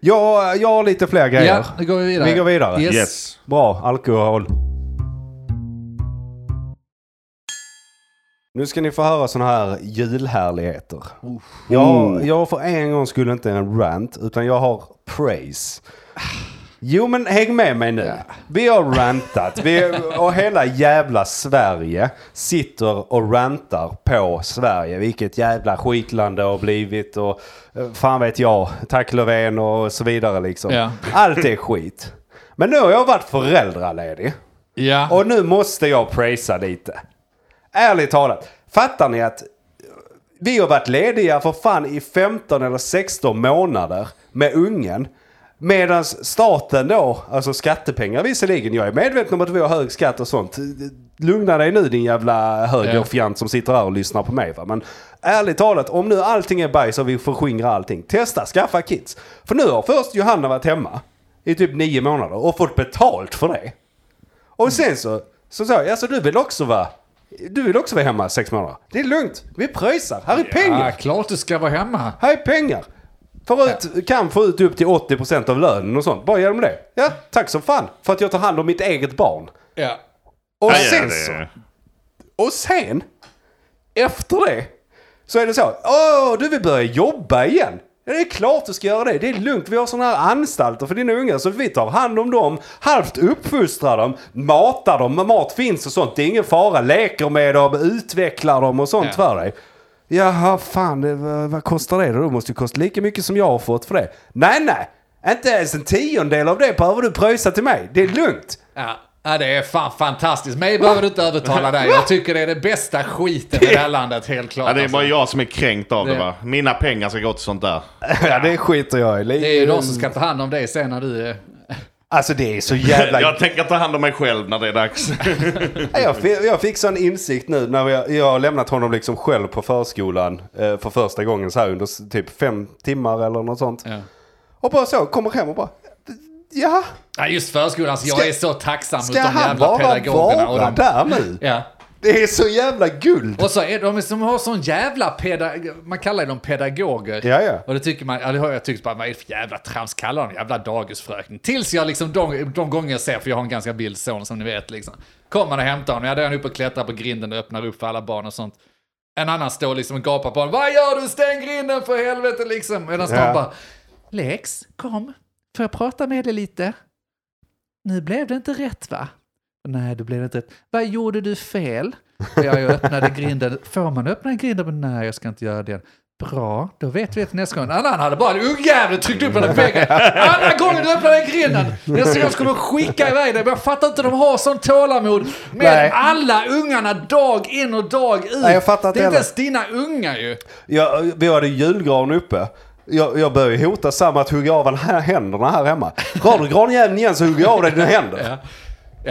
Speaker 1: Jag, jag har lite fler grejer.
Speaker 3: Ja, nu går vi vidare.
Speaker 1: Vi går vidare.
Speaker 3: Yes.
Speaker 2: Yes.
Speaker 1: Bra, alkohol. Nu ska ni få höra sådana här julhärligheter. Jag, jag har för en gång skulle inte en rant, utan jag har praise. Jo men häng med mig nu. Vi har rantat. Vi, och hela jävla Sverige sitter och rantar på Sverige. Vilket jävla skitland det har blivit och eh, fan vet jag, tack Löfven och så vidare liksom.
Speaker 3: Ja.
Speaker 1: Allt är skit. Men nu har jag varit föräldraledig.
Speaker 3: Ja.
Speaker 1: Och nu måste jag prisa lite. Ärligt talat, fattar ni att vi har varit lediga för fan i 15 eller 16 månader med ungen. Medan staten då, alltså skattepengar visserligen, jag är medveten om att vi har hög skatt och sånt. Lugna dig nu din jävla högerfjant som sitter här och lyssnar på mig. Va? Men ärligt talat, om nu allting är bajs och vi förskingrar allting, testa skaffa kids. För nu har först Johanna varit hemma i typ nio månader och fått betalt för det. Och sen så, så sa jag, alltså du vill också vara Du vill också vara hemma sex månader. Det är lugnt. Vi pröjsar. Här är
Speaker 3: Ja,
Speaker 1: pengar.
Speaker 3: klart du ska vara hemma.
Speaker 1: Här är pengar. Får ut, kan få ut upp till 80% av lönen och sånt. Bara genom det. Ja, tack som fan för att jag tar hand om mitt eget barn.
Speaker 3: Ja.
Speaker 1: Och
Speaker 2: Ja,
Speaker 1: sen
Speaker 2: det-
Speaker 1: så. Och sen, efter det, så är det så. Åh, du vill börja jobba igen. Ja, Det är klart du ska göra det. Det är lugnt. Vi har sådana här anstalter för dina ungar. Så vi tar hand om dem, halvt uppfostrar dem, matar dem. Mat finns och sånt. Det är ingen fara. Leker med dem, utvecklar dem och sånt
Speaker 3: Ja.
Speaker 1: för dig. Jaha, fan, det, vad, vad kostar det då? Det måste ju kosta lika mycket som jag har fått för det. Nej, nej. Inte ens en tiondel av det behöver du pröjsa till mig. Det är lugnt.
Speaker 3: Ja. ja, det är fan fantastiskt. Mig behöver du inte övertala dig. Jag tycker det är det bästa skiten i det här landet, helt klart.
Speaker 2: Ja, det är
Speaker 3: alltså.
Speaker 2: bara jag som är kränkt av det
Speaker 3: Det-
Speaker 2: va? Mina pengar ska gå till sånt där.
Speaker 1: Ja, det skiter jag i.
Speaker 3: det är ju de som ska ta hand om dig sen när du är...
Speaker 1: Alltså det är så [LAUGHS] jävla...
Speaker 2: Jag tänker ta hand om mig själv när det är
Speaker 3: [LAUGHS]
Speaker 2: dags.
Speaker 1: Ja, Jag fick, jag fick sån insikt nu när jag, jag har lämnat honom liksom själv på förskolan eh, för första gången så här under s- typ fem timmar eller något sånt.
Speaker 3: Ja.
Speaker 1: Och bara så, kommer hem och bara, ja,
Speaker 3: Ja, just förskolan. Så jag
Speaker 1: Ska-
Speaker 3: är så tacksam mot
Speaker 1: ska
Speaker 3: de
Speaker 1: han
Speaker 3: jävla
Speaker 1: bara
Speaker 3: pedagogerna.
Speaker 1: vara
Speaker 3: de,
Speaker 1: där nu?
Speaker 3: ja.
Speaker 1: Det är så jävla guld!
Speaker 3: Och så är de som har sån jävla pedag... Man kallar ju dem pedagoger.
Speaker 1: Ja, ja.
Speaker 3: Och det tycker man, ja, det har jag tyckt bara, vad är det för jävla trams, kallar de jävla dagisfröken? Tills jag liksom, de, de gånger jag ser, för jag har en ganska vild son som ni vet liksom. Kommer man och hämtar honom, ja då är han uppe och klättrar på grinden och öppnar upp för alla barn och sånt. En annan står liksom och gapar på honom, vad gör du, stäng grinden för helvete liksom. Medan
Speaker 1: Ja.
Speaker 3: de bara, Lex, kom, får jag prata med dig lite? Nu blev det inte rätt va? Nej, det blev inte rätt. Vad gjorde du fel? Ja, jag öppnade grinden. Får man öppna grinden? Men nej, jag ska inte göra det. Bra, då vet vi att nästa gång. En annan hade bara en ungjävel tryckt upp den i väggen. Andra gången du öppnade grinden! Nästa gång skulle de skicka iväg dig. Men jag fattar inte, de har sån tålamod med
Speaker 1: Nej.
Speaker 3: alla ungarna dag in och dag ut.
Speaker 1: Nej, jag fattar inte
Speaker 3: det är inte
Speaker 1: heller.
Speaker 3: ens dina ungar ju.
Speaker 1: Jag, vi hade julgran uppe. Jag, jag började hota Sam att hugga av han här händerna här hemma. Rör du granjäveln igen så hugger jag av dig dina händer.
Speaker 3: Ja.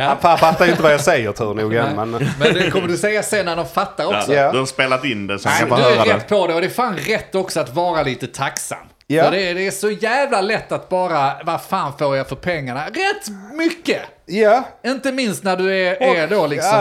Speaker 1: Han fa- fattar ju inte vad jag säger tur nog än, men...
Speaker 3: Men det kommer du säga sen när de fattar också.
Speaker 1: Ja.
Speaker 2: Du har spelat in det så han
Speaker 3: Nej,
Speaker 2: kan
Speaker 3: du
Speaker 2: få
Speaker 3: är
Speaker 2: höra
Speaker 3: rätt
Speaker 2: det.
Speaker 3: på det och det är fan rätt också att vara lite tacksam.
Speaker 1: Ja.
Speaker 3: För det, är- det är så jävla lätt att bara, vad fan får jag för pengarna? Rätt mycket!
Speaker 1: Ja,
Speaker 3: Inte minst när du är, är då liksom...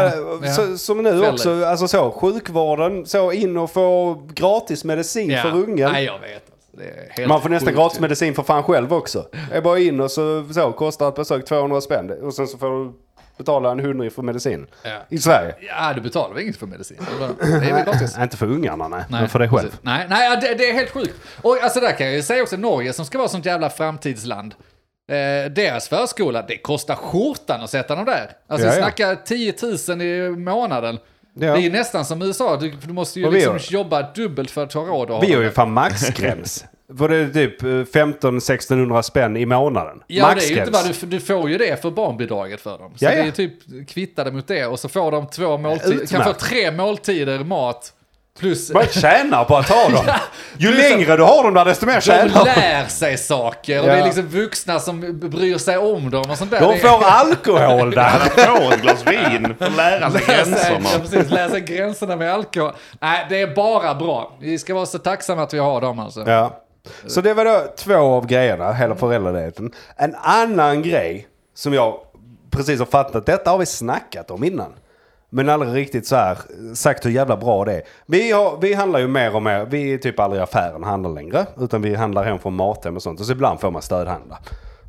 Speaker 1: Ja, så, som nu
Speaker 3: Fäller.
Speaker 1: också, alltså så, sjukvården, så in och få gratis medicin
Speaker 3: Ja.
Speaker 1: för ungen.
Speaker 3: Nej, jag vet. Alltså, Det är helt
Speaker 1: Man får nästan
Speaker 3: sjukt.
Speaker 1: gratis medicin för fan själv också. Det är bara in och så, så kostar ett besök 200 spänn och sen så får du betala en hundring för medicin.
Speaker 3: Ja.
Speaker 1: I Sverige.
Speaker 3: Ja, du betalar väl inget för medicin? Det är bara- Det är väl gratis?
Speaker 1: Inte för ungarna nej,
Speaker 3: Nej,
Speaker 1: men för dig själv.
Speaker 3: precis. Nej, nej ja, det, det är helt sjukt. Och alltså där kan jag ju säga också, Norge som ska vara sånt jävla framtidsland. Eh, deras förskola, det kostar skjortan att sätta dem där. Alltså
Speaker 1: Ja,
Speaker 3: vi
Speaker 1: ja.
Speaker 3: snackar 10 000 i månaden.
Speaker 1: Ja.
Speaker 3: Det är ju nästan som USA, du, du måste ju
Speaker 1: Och vi
Speaker 3: liksom
Speaker 1: har-
Speaker 3: jobba dubbelt för att ha råd att ha
Speaker 1: Vi har
Speaker 3: dem
Speaker 1: ju
Speaker 3: där.
Speaker 1: fan
Speaker 3: [LAUGHS]
Speaker 1: maxgräns. För det är typ eh, 15-1600 spänn i månaden.
Speaker 3: Ja, det är ju
Speaker 1: maxgräns.
Speaker 3: inte vad du, du får ju det för barnbidraget för dem. Så
Speaker 1: Ja,
Speaker 3: det är
Speaker 1: ja.
Speaker 3: ju typ kvittade mot det och så får de två måltider,
Speaker 1: Utmärkt.
Speaker 3: kan få tre måltider mat plus...
Speaker 1: Man tjänar på att
Speaker 3: [LAUGHS]
Speaker 1: ha dem. Ju
Speaker 3: det är så-
Speaker 1: längre du har dem där desto mer
Speaker 3: De
Speaker 1: tjänar du.
Speaker 3: lär sig saker och
Speaker 1: Ja.
Speaker 3: det är liksom vuxna som bryr sig om dem och sånt där.
Speaker 1: De
Speaker 3: [LAUGHS]
Speaker 1: får alkohol där.
Speaker 2: Han får ett glas vin för att lära sig gränserna.
Speaker 3: gränserna. Precis, läsa gränserna med alkohol. Nej, det är bara bra. Vi ska vara så tacksamma att vi har dem alltså.
Speaker 1: Ja. Så det var då två av grejerna, hela föräldraledigheten. En annan grej som jag precis har fattat, detta har vi snackat om innan. Men aldrig riktigt så här sagt hur jävla bra det är. Vi, har, vi handlar ju mer och mer, vi är typ aldrig i affären och handlar längre. Utan vi handlar hem från Mathem och sånt. Och så ibland får man stödhandla.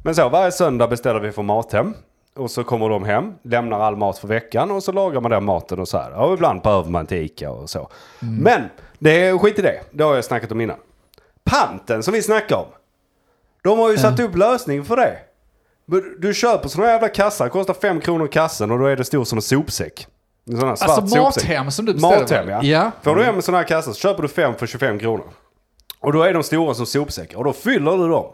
Speaker 1: Men så varje söndag beställer vi från Mathem. Och så kommer de hem, lämnar all mat för veckan och så lagar man den maten och så här. Och ibland behöver man till Ica och så. Men det är skit i det, det har jag snackat om innan. Panten som vi snackade om. De har ju satt upp lösning för det. Men Du köper sådana jävla kassar, kostar 5 kronor kassen och då är det stor som en sopsäck. En sån här svart
Speaker 3: Alltså
Speaker 1: sopsäck.
Speaker 3: Mathem som du beställer?
Speaker 1: Mathem ja.
Speaker 3: ja. Mm.
Speaker 1: Får du hem en sån här kassar så köper du 5 för 25 kronor. Och då är de stora som sopsäckar och då fyller du dem.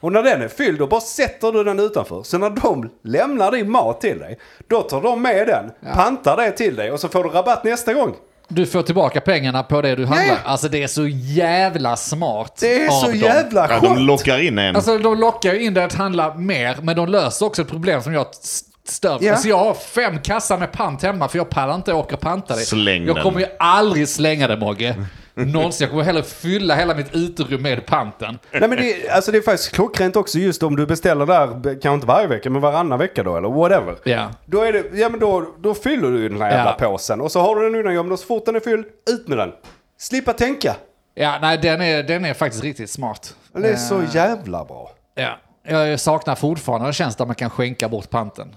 Speaker 1: Och när den är fylld då bara sätter du den utanför. Så när de lämnar din mat till dig, då tar de med den, pantar det till dig och så får du rabatt nästa gång.
Speaker 3: Du får tillbaka pengarna på det du handlar.
Speaker 1: Ja.
Speaker 3: Alltså det är så jävla smart
Speaker 1: Det är
Speaker 3: av
Speaker 1: så
Speaker 3: dem.
Speaker 1: jävla
Speaker 2: Ja,
Speaker 1: skönt.
Speaker 2: de lockar in en.
Speaker 3: Alltså de lockar ju in dig att handla mer, men de löser också ett problem som jag st- stör på.
Speaker 1: Ja.
Speaker 3: Alltså jag har fem kassar med pant hemma för jag pallar inte åka och panta det.
Speaker 2: Släng
Speaker 3: jag
Speaker 1: [LAUGHS]
Speaker 2: den.
Speaker 3: kommer ju aldrig slänga det Mogge. någonsin. Jag kommer hellre fylla hela mitt uterum med panten.
Speaker 1: Nej men det, alltså det är faktiskt klockrent också just om du beställer där, kanske inte varje vecka men varannan vecka då eller whatever.
Speaker 3: Ja.
Speaker 1: Då, är det, ja, men då, då fyller du ju den här jävla
Speaker 3: Ja.
Speaker 1: påsen och så har du den undan och så fort den är fylld, ut med den. Slippa tänka.
Speaker 3: Ja, nej, den är, den är faktiskt riktigt smart. Eh,
Speaker 1: Det är så jävla bra.
Speaker 3: Ja. Jag saknar fortfarande en tjänst där man kan skänka bort panten.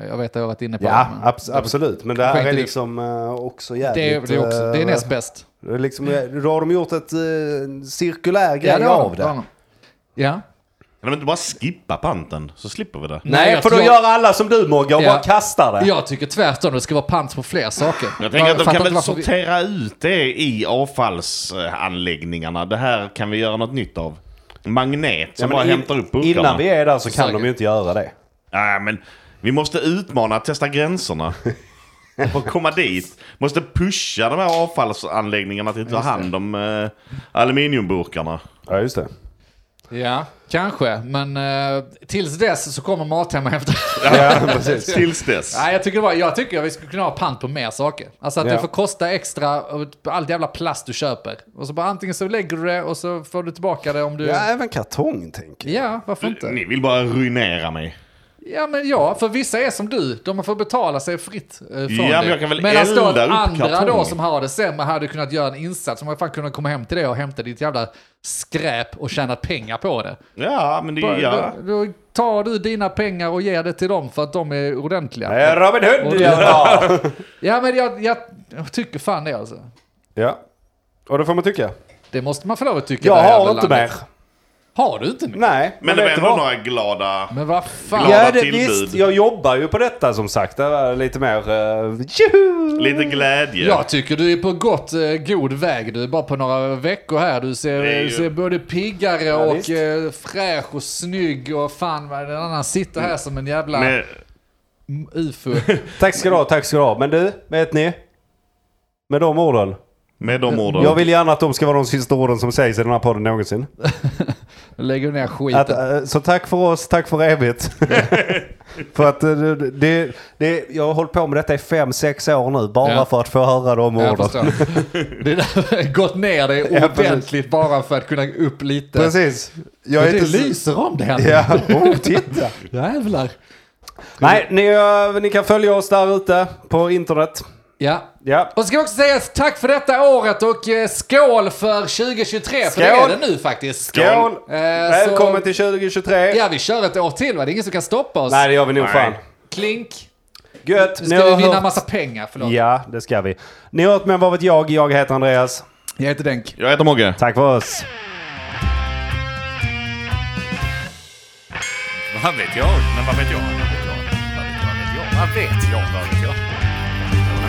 Speaker 3: Eh, Jag vet att jag har varit inne på
Speaker 1: Ja,
Speaker 3: det. men
Speaker 1: abs- absolut. Men det här
Speaker 3: Kanske
Speaker 1: är
Speaker 3: inte-
Speaker 1: liksom eh, också
Speaker 3: Det är,
Speaker 1: jävligt...
Speaker 3: det, är också, det är
Speaker 1: eh,
Speaker 3: näst bäst.
Speaker 1: det är liksom, då har de gjort ett eh, cirkulär grej
Speaker 3: har
Speaker 1: av
Speaker 3: de,
Speaker 1: det.
Speaker 3: har de. Ja.
Speaker 2: Kan vi inte bara skippa panten så slipper vi det?
Speaker 1: Nej,
Speaker 3: jag
Speaker 1: för då
Speaker 3: tror-
Speaker 1: gör alla som du Mogge och
Speaker 3: Ja.
Speaker 1: bara kastar det.
Speaker 3: Jag tycker tvärtom, det ska vara pant på fler saker.
Speaker 2: Jag tänker att de
Speaker 3: fattar
Speaker 2: kan
Speaker 3: inte
Speaker 2: väl
Speaker 3: varför vi-
Speaker 2: sortera ut det i avfallsanläggningarna. Det här kan vi göra något nytt av. En Magnet som
Speaker 1: men
Speaker 2: bara
Speaker 1: in-
Speaker 2: hämtar upp burkarna.
Speaker 1: Innan vi är där så kan
Speaker 3: Säkert.
Speaker 1: de ju inte göra det.
Speaker 2: Nej, men vi måste utmana,
Speaker 1: [LAUGHS]
Speaker 2: testa gränserna. För att komma dit. Måste pusha de här avfallsanläggningarna till att ta hand om eh, aluminiumburkarna.
Speaker 1: Ja, just det.
Speaker 3: Ja, kanske. Men eh, tills dess så kommer Mathem och hämtar.
Speaker 1: Ja, [LAUGHS] precis.
Speaker 2: Tills dess.
Speaker 3: [LAUGHS] Nej, jag tycker, det var, jag tycker att vi skulle kunna ha pant på mer saker. Alltså att
Speaker 1: Ja.
Speaker 3: det får kosta extra och all jävla plast du köper. Och så bara antingen så lägger du det och så får du tillbaka det om du...
Speaker 1: Ja,
Speaker 3: Ja,
Speaker 1: även kartong tänker jag.
Speaker 3: varför inte?
Speaker 2: Ni vill bara ruinera mig.
Speaker 3: Ja, men ja, för vissa är som du. De får betala sig fritt eh, från
Speaker 2: Ja, men
Speaker 3: det.
Speaker 2: jag kan väl
Speaker 3: Medan då
Speaker 2: elda upp
Speaker 3: andra
Speaker 2: kartong.
Speaker 3: då som har det sämre hade kunnat göra en insats. De hade fan kunnat komma hem till dig och hämta ditt jävla skräp och tjäna pengar på det.
Speaker 2: Ja, men det är... Ja.
Speaker 3: Då, då tar du dina pengar och ger det till dem för att de är ordentliga.
Speaker 1: Det är Eh, Robin Hood
Speaker 3: Och-
Speaker 1: jag drar.
Speaker 3: Ja, men jag, jag, jag tycker fan det alltså.
Speaker 1: Ja, och det får man tycka.
Speaker 3: Det måste man få lov att tycka. i
Speaker 1: Jag
Speaker 3: det här
Speaker 1: har
Speaker 3: jävla
Speaker 1: inte
Speaker 3: landet.
Speaker 1: mer.
Speaker 3: Har du inte mer?
Speaker 1: Nej,
Speaker 2: Men det var ändå några glada...
Speaker 3: Men vad fan.
Speaker 2: Glada
Speaker 1: Ja, det,
Speaker 2: tillbud.
Speaker 1: visst. Jag jobbar ju på detta som sagt. Det var lite mer... Uh, juhu!
Speaker 2: Lite glädje.
Speaker 3: Jag tycker du är på gott, eh, god väg. Du är bara på några veckor här. Du ser,
Speaker 2: Det är ju-
Speaker 3: ser både piggare
Speaker 1: visst.
Speaker 3: och eh, fräsch och snygg och fan vad en annan sitter här som en jävla
Speaker 2: Mm. Men,
Speaker 3: ufo.
Speaker 1: Tack ska du ha, tack ska du ha. Men du, vet ni? Med de orden.
Speaker 2: med de orden.
Speaker 1: Jag vill gärna att de ska vara de sista orden som sägs i den här podden någonsin.
Speaker 3: Lägger ner skiten.
Speaker 1: Att, eh, så tack för oss, tack för
Speaker 3: [LAUGHS]
Speaker 1: evigt. för att eh, det, det, det, jag har hållit på med detta i fem, sex år nu. Bara
Speaker 3: Ja.
Speaker 1: för att få höra de
Speaker 3: Jag
Speaker 1: orden.
Speaker 3: förstår. Det är där, gått ner dig
Speaker 1: [LAUGHS] Ja, precis.
Speaker 3: ordentligt bara för att kunna upp lite.
Speaker 1: Precis. Jag
Speaker 3: Jag det
Speaker 1: så-
Speaker 3: lyser om det här.
Speaker 1: [LAUGHS] Ja,
Speaker 3: [LAUGHS]
Speaker 1: oh, titta.
Speaker 3: Jävlar.
Speaker 1: Nej, ni, eh, ni kan följa oss där ute på internet.
Speaker 3: Ja.
Speaker 1: Ja.
Speaker 3: Och ska vi också säga tack för detta året och eh, skål för 2023. För det
Speaker 1: Skål.
Speaker 3: är det nu faktiskt.
Speaker 1: Skål!
Speaker 2: Eh,
Speaker 1: Välkommen
Speaker 3: så-
Speaker 1: till 2023.
Speaker 3: Ja, vi kör ett år till va? Det är ingen som kan stoppa oss.
Speaker 1: Nej, det gör vi nog
Speaker 2: Nej.
Speaker 1: fan.
Speaker 3: Klink.
Speaker 1: Gött!
Speaker 3: Nu
Speaker 1: ni
Speaker 3: ska
Speaker 1: har
Speaker 3: vi vinna
Speaker 1: hört-
Speaker 3: massa pengar. Förlåt.
Speaker 1: Ja, det ska vi. Ni har hört med Vad vet jag? Jag heter Andreas.
Speaker 3: Jag heter Denk.
Speaker 2: Jag heter Mogge.
Speaker 1: Tack för oss.
Speaker 4: Vad vet jag? Men vad vet jag? Vad vet jag? Vad vet jag? Men